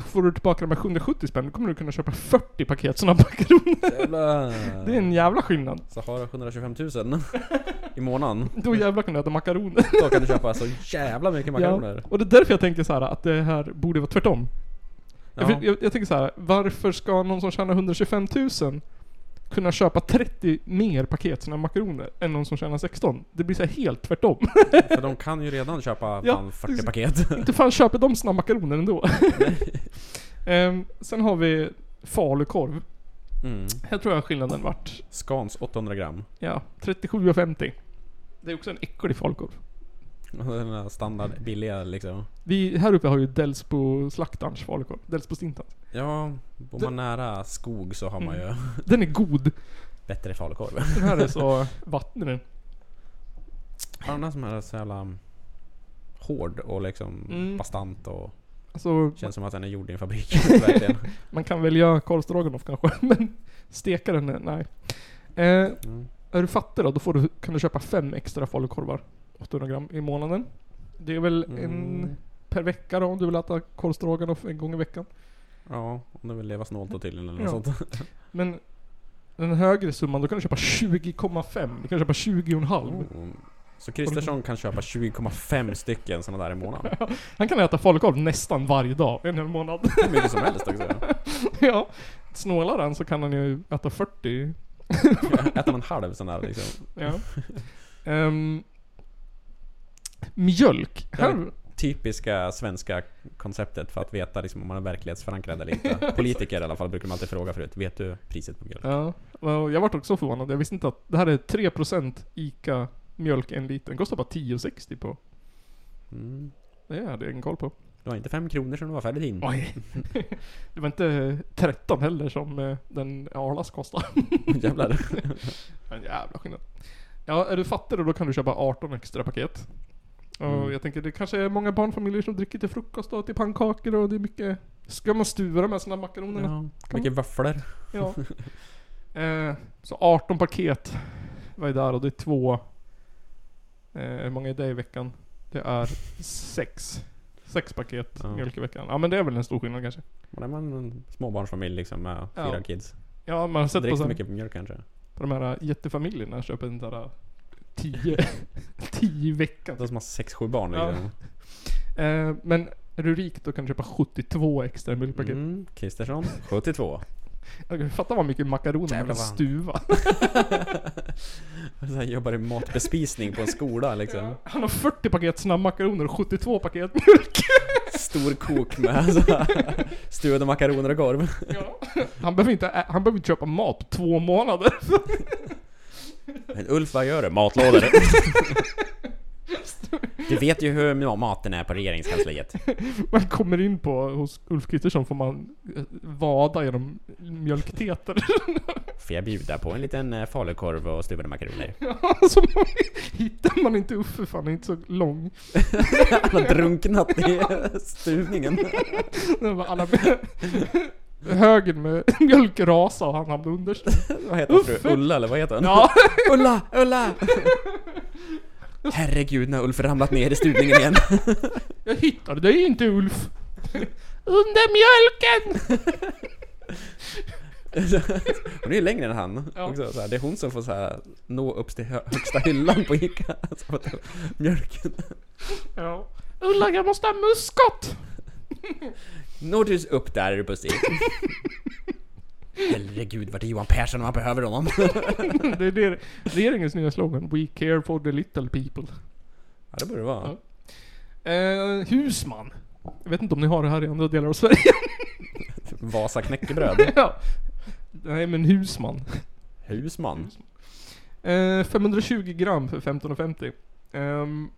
Speaker 1: Får du tillbaka de här 770 spänn, då kommer du kunna köpa 40 paket sådana makaroner.
Speaker 2: Jävlar.
Speaker 1: Det är en jävla skillnad.
Speaker 2: Så har du 125 000 i månaden,
Speaker 1: Då jävlar kan du äta makaroner.
Speaker 2: då kan du köpa så jävla mycket *laughs* makaroner.
Speaker 1: Och det är därför jag tänker så här att det här borde vara tvärtom.
Speaker 2: Ja.
Speaker 1: Jag, jag, jag tänker så här, varför ska någon som tjänar 125 000 kunna köpa 30 mer paket såna här makaroner än någon som tjänar 16? Det blir så här helt
Speaker 2: *laughs*
Speaker 1: tvärtom. *laughs*
Speaker 2: För de kan ju redan köpa
Speaker 1: Ja,
Speaker 2: fan
Speaker 1: precis.
Speaker 2: 40 paket.
Speaker 1: *laughs* Inte fan köper de såna makaroner ändå. *laughs* Ehm, sen har vi falukorv.
Speaker 2: Mm.
Speaker 1: Här tror jag skillnaden vart
Speaker 2: Skans 800 gram. *laughs*
Speaker 1: ja, 37,50. Det är också en äcklig falukorv.
Speaker 2: Den där
Speaker 1: Mm.
Speaker 2: standard billiga liksom.
Speaker 1: Vi här uppe har ju Delsbo slaktarns falukorv. Delsbo Stintans.
Speaker 2: Ja, bor man nära skog så har man
Speaker 1: Mm.
Speaker 2: ju
Speaker 1: Den är god.
Speaker 2: *laughs*
Speaker 1: *laughs*
Speaker 2: bättre falukorv.
Speaker 1: Den här är så vattnig den.
Speaker 2: Har den här som är så jävla hård och liksom
Speaker 1: Mm.
Speaker 2: bastant och
Speaker 1: Alltså,
Speaker 2: känns som att den är gjord i
Speaker 1: *laughs*
Speaker 2: en fabrik. verkligen.
Speaker 1: man kan välja korv stroganoff kanske, *laughs* men steka den, nej. Eh,
Speaker 2: Mm.
Speaker 1: är du fattig då, då får du, kan du köpa fem extra falukorvar. 800 gram i månaden. Det är väl en
Speaker 2: Mm.
Speaker 1: per vecka då, om du vill äta korv stroganoff en gång i veckan.
Speaker 2: Ja, om du vill leva snålt då tydligen eller
Speaker 1: Ja.
Speaker 2: något sånt.
Speaker 1: Men den högre summan, då kan du köpa 20,5. Du kan köpa 20,5.
Speaker 2: Mm. Så Kristersson kan köpa 20,5 stycken såna där i
Speaker 1: *laughs*
Speaker 2: månaden.
Speaker 1: Han kan äta falukorv nästan varje dag, en hel månad. *laughs*
Speaker 2: Hur mycket som helst också.
Speaker 1: ja. Snålar han så kan han ju äta 40
Speaker 2: Äter man halv sån
Speaker 1: *laughs*
Speaker 2: där liksom.
Speaker 1: Ja. Ehm, mjölk. Här,
Speaker 2: typiska svenska konceptet för att veta liksom, om man är verklighetsförankrad eller
Speaker 1: *laughs*
Speaker 2: inte. Politiker i alla fall brukar de alltid fråga förut. Vet du priset på mjölk?
Speaker 1: Ja, och jag vart också förvånad. Jag visste inte att det här är 3% ICA mjölk en liten. Kostar bara 10,60 på.
Speaker 2: Mm.
Speaker 1: Det hade jag ingen koll på.
Speaker 2: Det var inte fem kronor som det var färdigt in.
Speaker 1: Mm. Oj. *laughs* Det var inte 13 heller som eh, den Arlas *laughs* kostade.
Speaker 2: *laughs* Jävlar.
Speaker 1: En jävla skillnad. Ja, är du fattig då, då kan du köpa 18 extra paket. Och
Speaker 2: Mm.
Speaker 1: jag tänker det kanske är många barnfamiljer som dricker till frukost och till pannkakor och det är mycket... Ska man stura med såna makaroner?
Speaker 2: Ja. Mycket våfflor.
Speaker 1: Ja. *laughs* Eh, så 18 paket var ju där och det är två... Eh, hur många är det i veckan? Det är sex. Sex paket
Speaker 2: Ja.
Speaker 1: mjölk i veckan. Ja men det är väl en stor skillnad kanske.
Speaker 2: Men är man en småbarnsfamilj liksom med fyra
Speaker 1: Ja.
Speaker 2: kids.
Speaker 1: Ja man har sett på,
Speaker 2: Dricker
Speaker 1: så
Speaker 2: så
Speaker 1: här,
Speaker 2: mycket mjölk kanske.
Speaker 1: på de här jättefamiljerna köper den där eh,
Speaker 2: *laughs*
Speaker 1: tio, tio i veckan.
Speaker 2: De som har sex, sju barn
Speaker 1: Ja.
Speaker 2: liksom.
Speaker 1: Eh, men är du rik då kan du köpa 72 extra mjölkpaket.
Speaker 2: Mm. Kristersson,
Speaker 1: *laughs*
Speaker 2: 72.
Speaker 1: Mm. Fatta vad mycket makaroner man kan
Speaker 2: Jävlar vad han-
Speaker 1: stuva.
Speaker 2: så här, jobbar i matbespisning på en skola liksom.
Speaker 1: Han har 40 paket snabbmakaroner och 72 paket mjölk.
Speaker 2: Stor kok med så här, *laughs* stuvade makaroner och korv.
Speaker 1: Ja. Han behöver inte, ä- han behöver inte köpa mat på två månader.
Speaker 2: Men Ulf, vad gör
Speaker 1: *laughs*
Speaker 2: du? Matlådor. du vet ju hur maten är på regeringskansliet.
Speaker 1: Man kommer in på hos Ulf Kristersson får man eh, vada genom mjölkteter. *laughs*
Speaker 2: Får jag bjuda på en liten eh, falukorv och
Speaker 1: *laughs*
Speaker 2: stuvade makaroner?
Speaker 1: Alltså, man, hittar man inte Uffe för han är inte så lång.
Speaker 2: Han har drunknat i stuvningen.
Speaker 1: Det var Alla, högen med mjölk rasade och han hamnade underst.
Speaker 2: Vad heter han? Fru Ulla eller vad heter han?
Speaker 1: Ja.
Speaker 2: *laughs* Ulla! Ulla! Herregud, nu har Ulf ramlat ner i stuvningen
Speaker 1: *laughs*
Speaker 2: igen.
Speaker 1: Jag hittade dig inte Ulf! Under mjölken!
Speaker 2: Hon är ju längre än han.
Speaker 1: Ja.
Speaker 2: Också, så här, det är hon som får så här, nå upp till hö- högsta hyllan på Ica. Alltså, för att- mjölken.
Speaker 1: Ja. Ulla, jag måste ha muskot!
Speaker 2: Når du upp där är du pussig. *laughs* Herregud, vart är Johan Persson om man behöver *laughs* honom?
Speaker 1: Det är det, regeringens nya slogan. We care for the little people.
Speaker 2: Ja, det borde det vara.
Speaker 1: Ja. Eh, husman. Jag vet inte om ni har det här i andra delar av Sverige?
Speaker 2: Vasa knäckebröd.
Speaker 1: *laughs* ja. Nej men husman.
Speaker 2: Husman.
Speaker 1: Eh, 520 gram för 15,50. Ehm,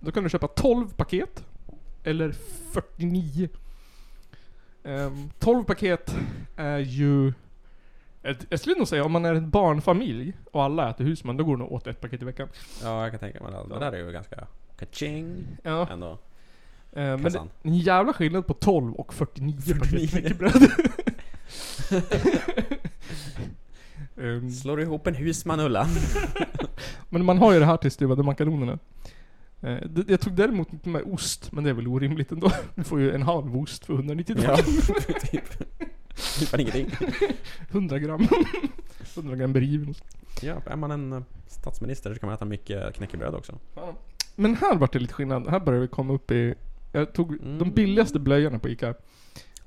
Speaker 1: då kan du köpa 12 paket. Eller 49. Ehm, 12 paket är ju... ett- Jag skulle nog säga om man är en barnfamilj och alla äter husman, då går det nog åt ett paket i veckan.
Speaker 2: Ja, jag kan tänka mig det. Det där är ju ganska... Kaching!
Speaker 1: Ja,
Speaker 2: Ändå.
Speaker 1: eh, men det,
Speaker 2: Kassan.
Speaker 1: det är en jävla skillnad på 12 och 49,
Speaker 2: 49.
Speaker 1: paket knäckebröd. Ehm,
Speaker 2: Slår du ihop en husman Ulla?
Speaker 1: Men man har ju det här till stuvade makaronerna. Eh, det- Jag tog däremot inte med ost, men det är väl orimligt ändå. *laughs* Du får ju en halv ost för 192
Speaker 2: *laughs*
Speaker 1: *laughs*
Speaker 2: Ja, *laughs* typ. Typ ingenting.
Speaker 1: 100 gram. *laughs* 100 gram beriven ost.
Speaker 2: Ja, är man en eh, statsminister så kan man äta mycket knäckebröd också.
Speaker 1: Men här vart det lite skillnad. Här börjar vi komma upp i... Jag tog de
Speaker 2: Mm.
Speaker 1: billigaste blöjorna på Ica.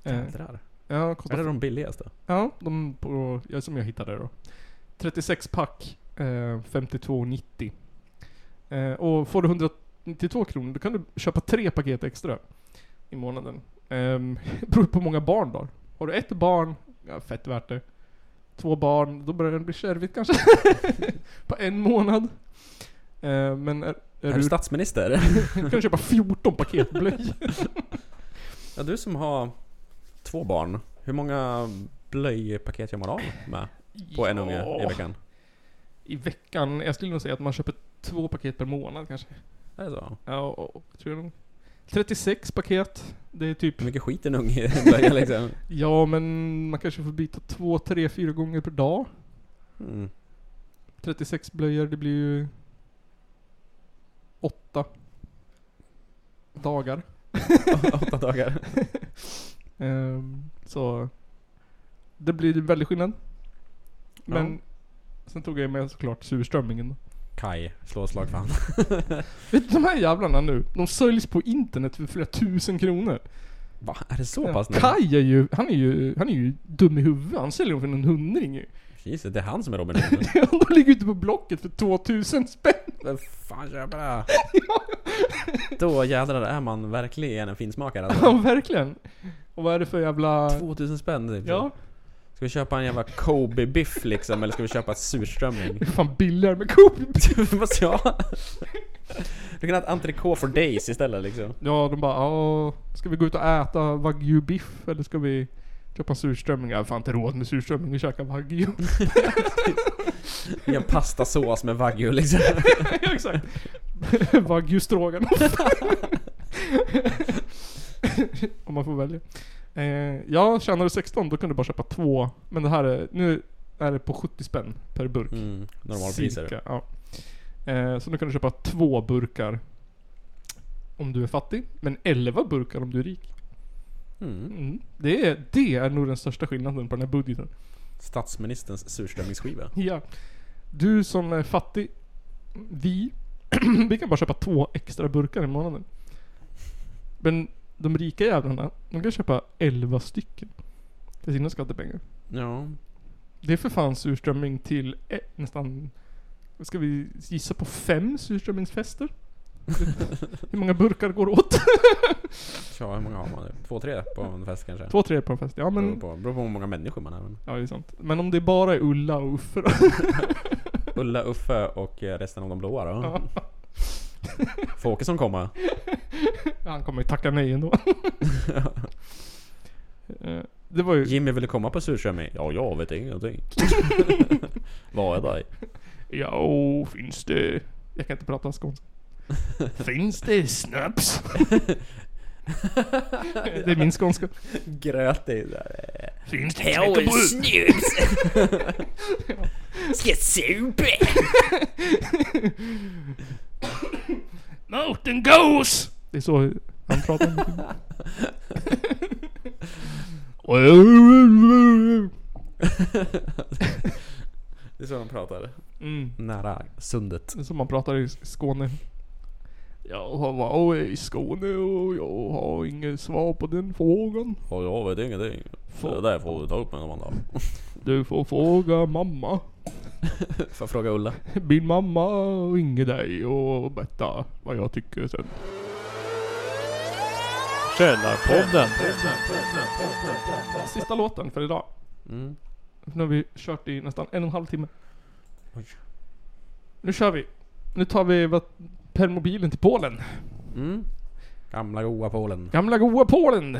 Speaker 1: Eh,
Speaker 2: Jädrar.
Speaker 1: ja,
Speaker 2: Är det
Speaker 1: kostar,
Speaker 2: de billigaste?
Speaker 1: ja, de på, ja, som jag hittade då. 36 pack, eh, 52,90. Eh, och får du 192 kronor, då kan du köpa tre paket extra i månaden. Um, *laughs* beror på hur många barn då. Har du ett barn, ja, fett värt det. Två barn, då börjar den bli kärvigt kanske. *laughs* på en månad. Eh, men är, är,
Speaker 2: Är du statsminister?
Speaker 1: du kan du köpa 14 paket blöjor.
Speaker 2: *laughs* Ja, du som har två barn. Hur många blöjpaket gör man av med på en unge i
Speaker 1: Ja,
Speaker 2: veckan?
Speaker 1: I veckan, jag skulle nog säga att man köper två paket per månad kanske.
Speaker 2: Är det så?
Speaker 1: Ja, och, och, tror jag nog. 36 paket. Det är typ...
Speaker 2: Hur mycket skit en unge blöja liksom?
Speaker 1: Ja, men man kanske får byta två, tre, fyra gånger per dag.
Speaker 2: Mm.
Speaker 1: 36 blöjor, det blir ju... Åtta. Dagar.
Speaker 2: *laughs* Åtta dagar.
Speaker 1: Ehm, så... Det blir en väldig skillnad. Men... Sen tog jag med såklart surströmmingen.
Speaker 2: Kai, slå ett slag för han.
Speaker 1: Vet du, de här jävlarna nu, de säljs på internet för flera tusen kronor.
Speaker 2: Va? Är det så
Speaker 1: Ja.
Speaker 2: pass nu?
Speaker 1: Kai är ju, han är ju, han är ju dum i huvudet. Han säljer dem för en hundring ju. *laughs*
Speaker 2: Jesus, det är han som är Robin Hood.
Speaker 1: De ligger ute på Blocket för 2000 spänn.
Speaker 2: *laughs* Vem fan
Speaker 1: *laughs*
Speaker 2: köper det? Då jädrar är man verkligen en finsmakare alltså.
Speaker 1: Ja, verkligen. Och vad är det för jävla...
Speaker 2: 2000 spänn typ.
Speaker 1: Ja,
Speaker 2: Ska vi köpa en jävla Kobe-biff liksom, eller ska vi köpa surströmming? *laughs*
Speaker 1: det är fan billigare med Coop.
Speaker 2: Fast ja. Du kan ha ett entrecote for days istället liksom.
Speaker 1: Ja, de bara ja, ska vi gå ut och äta wagyu biff eller ska vi köpa surströmming? Jag har fan inte råd med surströmming och käka *laughs* wagyu.
Speaker 2: I en pastasås med wagyu liksom.
Speaker 1: Ja, Exakt. *laughs* wagyu stroganoff. *laughs* Om man får välja. Eh, jag tjänade 16, då kunde du bara köpa två. Men det här är, nu är det på 70 spänn per burk.
Speaker 2: Mm, normalpriser.
Speaker 1: Cirka, ja. eh, så nu kan du köpa två burkar om du är fattig, men 11 burkar om du är rik.
Speaker 2: Mm.
Speaker 1: Mm. Det, är, det är nog den största skillnaden på den här budgeten.
Speaker 2: Statsministerns surströmmingsskiva.
Speaker 1: Ja. Du som är fattig, vi, *clears throat* vi kan bara köpa två extra burkar i månaden. Men de rika jävlarna, de kan köpa 11 stycken. För sina skattepengar.
Speaker 2: Ja.
Speaker 1: Det är för fan surströmming till eh, nästan... vad Ska vi gissa på fem surströmmingsfester? Hur många burkar går åt? *laughs*
Speaker 2: *laughs* Tja, hur många har man? Två, tre på en fest kanske?
Speaker 1: Två, tre på en fest. Ja
Speaker 2: Beror
Speaker 1: men...
Speaker 2: på, beror på hur många människor man är. men
Speaker 1: Ja det är sant. Men om det bara är Ulla och Uffe då?
Speaker 2: Ulla, Uffe och eh, resten av de blåa då.
Speaker 1: *laughs*
Speaker 2: Får Åkesson komma? *laughs*
Speaker 1: Han kommer ju tacka nej ändå. Eh, det var ju...
Speaker 2: Jimmy ville komma på surströmming? Ja, jag vet *laughs* ingenting. Vad är det?
Speaker 1: Ja, Oh, finns det... Jag kan inte prata skånska. finns det snaps? det är min skånska.
Speaker 2: Gröt i det där.
Speaker 1: Finns det knäckebröd?
Speaker 2: Ska supa!
Speaker 1: Mårten gås! Det är så han pratar.
Speaker 2: *laughs* Det är så de pratar.
Speaker 1: mm.
Speaker 2: Nära sundet.
Speaker 1: Det är som man pratar i Skåne. Jag var i Skåne och jag har inget svar på den frågan.
Speaker 2: Ja, jag vet ingenting.
Speaker 1: Får-
Speaker 2: Det där får du ta upp med någon annan.
Speaker 1: Du får fråga mamma.
Speaker 2: Får jag fråga Ulla?
Speaker 1: Min mamma ringer dig och berättar vad jag tycker sen.
Speaker 9: Källarpodden.
Speaker 1: Sista låten för idag.
Speaker 2: Mm.
Speaker 1: Nu har vi kört i nästan en och en halv timme.
Speaker 2: Oj.
Speaker 1: Nu kör vi. Nu tar vi vad- permobilen till Polen.
Speaker 2: Mm. Gamla goa Polen.
Speaker 1: Gamla goa Polen.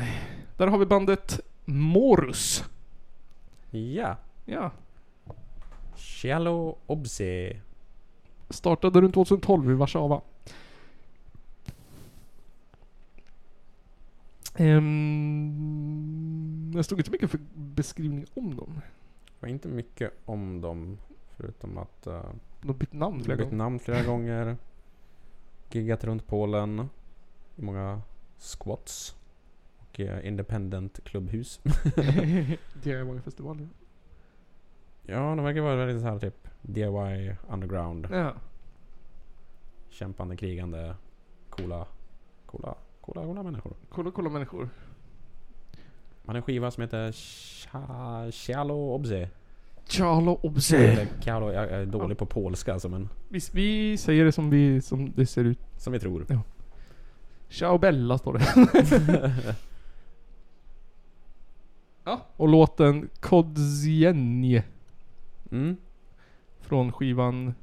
Speaker 1: Där har vi bandet Morus.
Speaker 2: Ja.
Speaker 1: Ja.
Speaker 2: Shallow Obse.
Speaker 1: Startade runt 2012 i Warszawa. Ehm, jag stod inte mycket för beskrivning om dem.
Speaker 2: Det var inte mycket om dem. Förutom att eh,
Speaker 1: De har bytt namn
Speaker 2: de har
Speaker 1: flera
Speaker 2: bytt
Speaker 1: gånger.
Speaker 2: namn flera gånger. Giggat runt Polen. I många squats. Och eh, independent klubbhus. *laughs*
Speaker 1: *laughs* DIY-festivalen.
Speaker 2: ja, de verkar vara väldigt så här typ DIY underground.
Speaker 1: Ja.
Speaker 2: Kämpande, krigande, coola, coola, coola, coola människor.
Speaker 1: Kolla, kolla människor.
Speaker 2: Han har en skiva som heter Sha- Shallow Obse.
Speaker 1: Charlo Obse.
Speaker 2: Eller Kalo, jag jag är dålig på polska alltså, men
Speaker 1: Vi, vi säger det som, vi, som det ser ut.
Speaker 2: som vi tror.
Speaker 1: Ciao Bella står det. ja, och låten Kodzienie.
Speaker 2: Mm.
Speaker 1: Från skivan...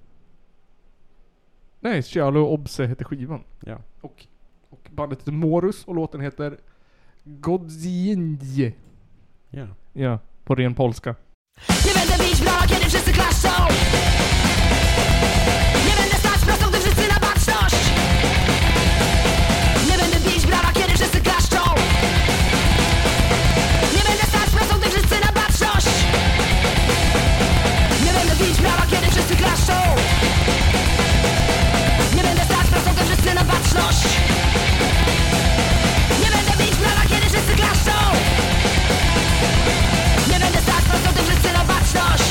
Speaker 1: Nej, Cialo Obse heter skivan.
Speaker 2: Ja.
Speaker 1: Och, och bandet heter Morus och låten heter Godziendje.
Speaker 2: Ja.
Speaker 1: Ja, på ren polska.
Speaker 10: Nie będę bić bra, kiedy wszyscy klaszczą Nie będę stać prostą, gdy wszyscy na baczność Nie będę bić brawa, kiedy wszyscy klaszczą Nie będę stać prostą, gdy wszyscy na baczność Nie będę bić brawa, kiedy wszyscy klaszczą Nie będę stać prostą, gdy wszyscy na baczność Nie będę bić brawa, kiedy wszyscy klaszczą nie będę stać, po co ty wszyscy na baczność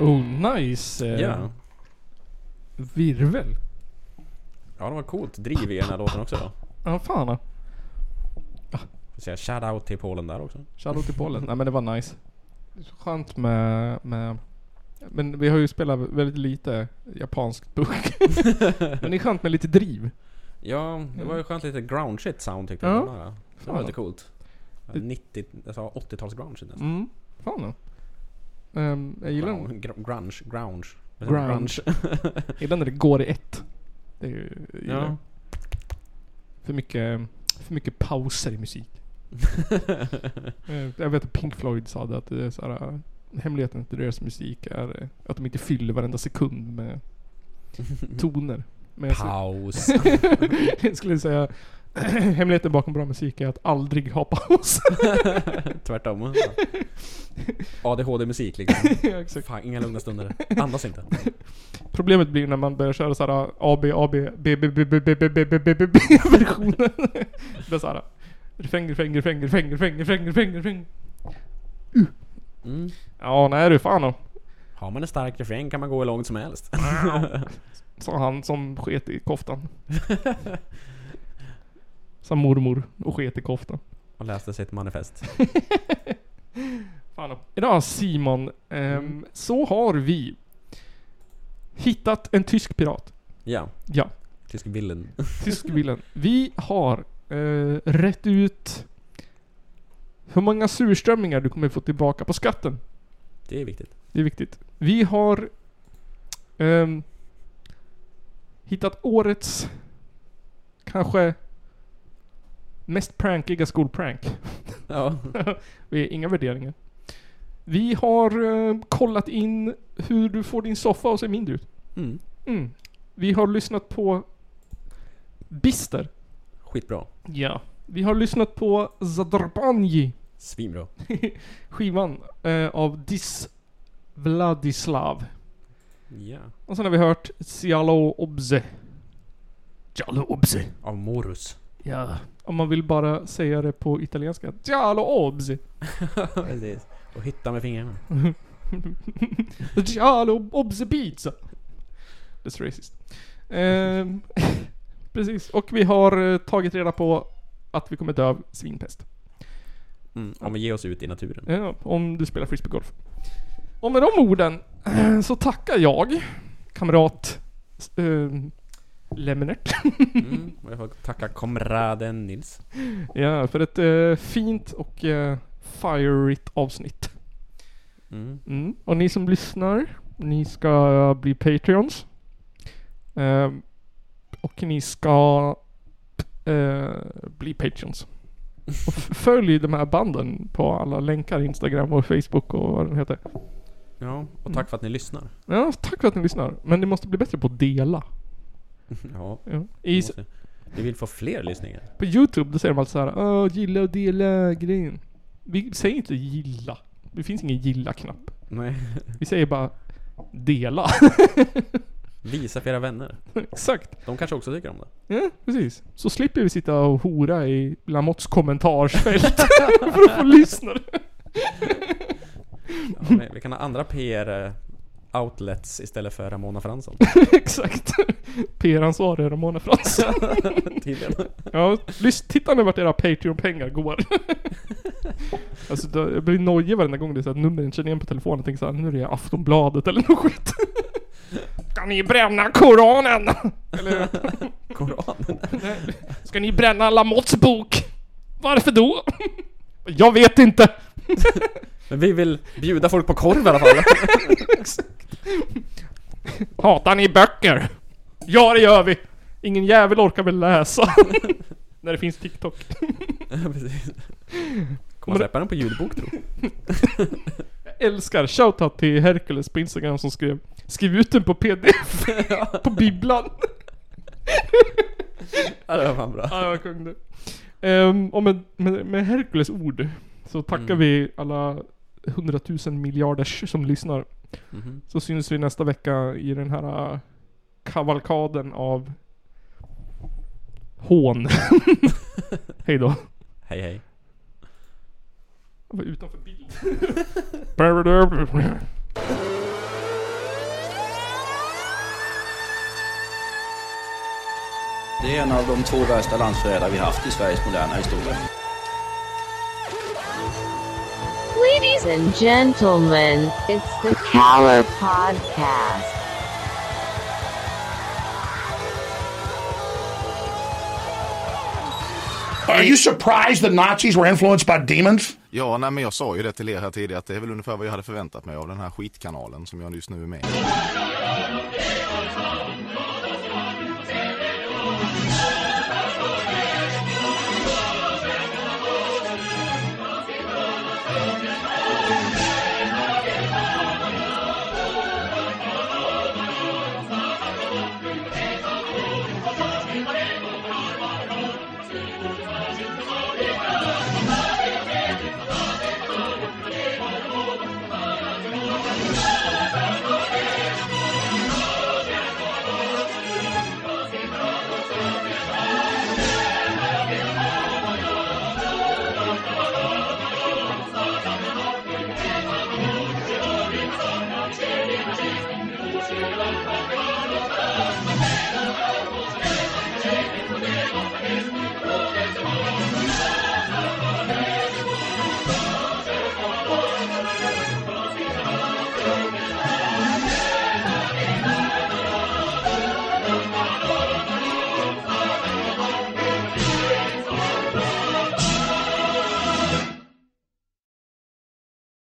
Speaker 1: Oh, nice eh,
Speaker 2: Ja.
Speaker 1: virvel.
Speaker 2: Ja, det var coolt driv i den här låten också.
Speaker 1: Ja, fan. ja.
Speaker 2: Får säga shout-out till Polen där också.
Speaker 1: Shoutout till Polen. Nej men det var nice. Skönt med, med... Men vi har ju spelat väldigt lite japanskt *laughs* punk. men det är skönt med lite driv.
Speaker 2: Ja, det var ju skönt lite ground shit sound tyckte
Speaker 1: Mm. Ja.
Speaker 2: jag. Ja. Det var
Speaker 1: Fan.
Speaker 2: lite coolt. 90, alltså 80-tals grunge nästan.
Speaker 1: Mm. Fan ja. Ehm, jag gillar,
Speaker 2: Grunge, gr- grunge, grunge. Vad säger man?
Speaker 1: Grunge. gillar när det går i ett. Det är ju, jag gillar
Speaker 2: Ja.
Speaker 1: för, mycket, för mycket pauser i musik. Eh, jag vet att Pink Floyd sa det att det är så här, eh, hemligheten till deras musik är eh, att de inte fyller varenda sekund med toner. Men jag,
Speaker 2: *laughs* Paus. *laughs*
Speaker 1: *laughs* Jag skulle säga *clears throat* Hemligheten bakom bra musik är att aldrig ha
Speaker 2: *laughs*
Speaker 1: paus.
Speaker 2: Tvärtom. ADHD-musik liksom.
Speaker 1: *laughs* Ja, exakt.
Speaker 2: Fan, inga lugna stunder. Andas inte.
Speaker 1: Problemet blir när man börjar köra såhär A, B, A, B, B, B, B, B, B, B, B, B, B, B, *laughs* B versionen. Det är såhär refräng, refräng, refräng, refräng, refräng, refräng, refräng, refräng.
Speaker 2: Mm.
Speaker 1: Ja, nej du fan då.
Speaker 2: Har man en stark refräng kan man gå hur långt
Speaker 1: *laughs*
Speaker 2: som helst.
Speaker 1: Sa han som sket i koftan. Sa mormor och sket i koftan.
Speaker 2: Och läste sitt manifest.
Speaker 1: Fan då. Idag Simon, ehm, så har vi hittat en tysk pirat.
Speaker 2: Ja,
Speaker 1: Ja.
Speaker 2: tysk villain.
Speaker 1: Tysk villen. Vi har eh, rätt ut hur många surströmmingar du kommer få tillbaka på skatten.
Speaker 2: Det är viktigt.
Speaker 1: Det är viktigt. Vi har ehm, hittat årets kanske mest prankiga skolprank.
Speaker 2: Ja.
Speaker 1: Vi är inga värderingar. Vi har eh, kollat in hur du får din soffa att se mindre ut.
Speaker 2: Mm.
Speaker 1: Mm. Vi har lyssnat på Bister.
Speaker 2: Skitbra.
Speaker 1: Ja. Vi har lyssnat på Zadorbanji,
Speaker 2: Svinbra.
Speaker 1: skivan eh, av Dis Vladislav.
Speaker 2: Ja.
Speaker 1: Och sen har vi hört Cialo Obze. Cialo Obze.
Speaker 2: Av *laughs* Morus.
Speaker 1: Ja. Om man vill bara säga det på italienska. Cialo Obze.
Speaker 2: Precis. Och hitta med fingrarna.
Speaker 1: Cialo Obze Pizza. That's racist. Ehm, *laughs* precis. Och vi har eh, tagit reda på att vi kommer dö av svinpest.
Speaker 2: Mm. Om vi ger oss ut i naturen.
Speaker 1: Ja, om du spelar frisbeegolf. Och med de orden *clears throat* eh, så tackar jag kamrat äh, Lemnert
Speaker 2: Mm. Och jag får tacka kamraden Nils.
Speaker 1: ja, för ett eh, fint och äh, firigt avsnitt.
Speaker 2: Mm.
Speaker 1: Mm. Och ni som lyssnar, ni ska bli Patreons. Ehm, och ni ska eh, bli Patreons. Och *laughs* f- följ de här banden på alla länkar, Instagram och Facebook och vad den heter.
Speaker 2: Ja, och tack för att ni lyssnar.
Speaker 1: Ja, tack för att ni lyssnar. Men ni måste bli bättre på att dela.
Speaker 2: *laughs* Ja.
Speaker 1: Ja.
Speaker 2: vi
Speaker 1: I,
Speaker 2: måste- Vi vill få fler lyssningar.
Speaker 1: på YouTube då säger de alltid såhär Åh, gilla och dela grejen. Vi säger inte gilla. Det finns ingen gilla-knapp.
Speaker 2: Nej.
Speaker 1: Vi säger bara dela.
Speaker 2: *laughs*
Speaker 1: *laughs*
Speaker 2: Visa för era vänner.
Speaker 1: Exakt.
Speaker 2: De kanske också tycker om det.
Speaker 1: Ja, precis. Så slipper vi sitta och hora i Lamotts kommentarsfält *laughs* för att få lyssnare.
Speaker 2: Ja, vi, vi kan ha andra PR-outlets istället för Ramona *laughs* Fransson.
Speaker 1: Exakt. PR-ansvarig Ramona Fransson.
Speaker 2: Tydligen.
Speaker 1: Ja, lys- titta nu vart era Patreon-pengar *laughs* går. alltså, då- jag blir nojig varenda gång det är så att numren känner igen på telefonen. Jag tänker såhär, nu är det Aftonbladet eller något skit. *laughs* Ska ni bränna Koranen? eller,
Speaker 2: Koranen.
Speaker 1: ska ni bränna Lamotts bok? Varför då? jag vet inte.
Speaker 2: Men vi vill bjuda folk på korv i alla *laughs* fall.
Speaker 1: Hatar ni böcker? Ja, det gör vi. Ingen jävel orkar väl *laughs* läsa. När det finns TikTok.
Speaker 2: Precis. Kommer man släppa den på ljudbok tro?
Speaker 1: älskar shoutout till Hercules på Instagram som skrev Skriv ut den på *laughs* pdf på bibblan.
Speaker 2: Ja, det var fan bra.
Speaker 1: ja, jag kung det. Ehm, och med, med, med Hercules ord så tackar vi alla hundratusen miljarders som lyssnar.
Speaker 2: Mhm.
Speaker 1: Så syns vi nästa vecka i den här äh, kavalkaden av *laughs* hån. Hej då.
Speaker 2: Hej hej.
Speaker 1: *laughs* Jag var utanför bild.
Speaker 9: Det är en av de två värsta landsförrädare vi haft i Sveriges moderna historia.
Speaker 3: Ladies and gentlemen, it's the Caller Podcast.
Speaker 4: Are you surprised the Nazis were influenced by demons?
Speaker 9: Ja, nej, men jag sa ju det till er här tidigare att det är väl ungefär vad jag hade förväntat mig av den här skitkanalen som jag just nu är med i.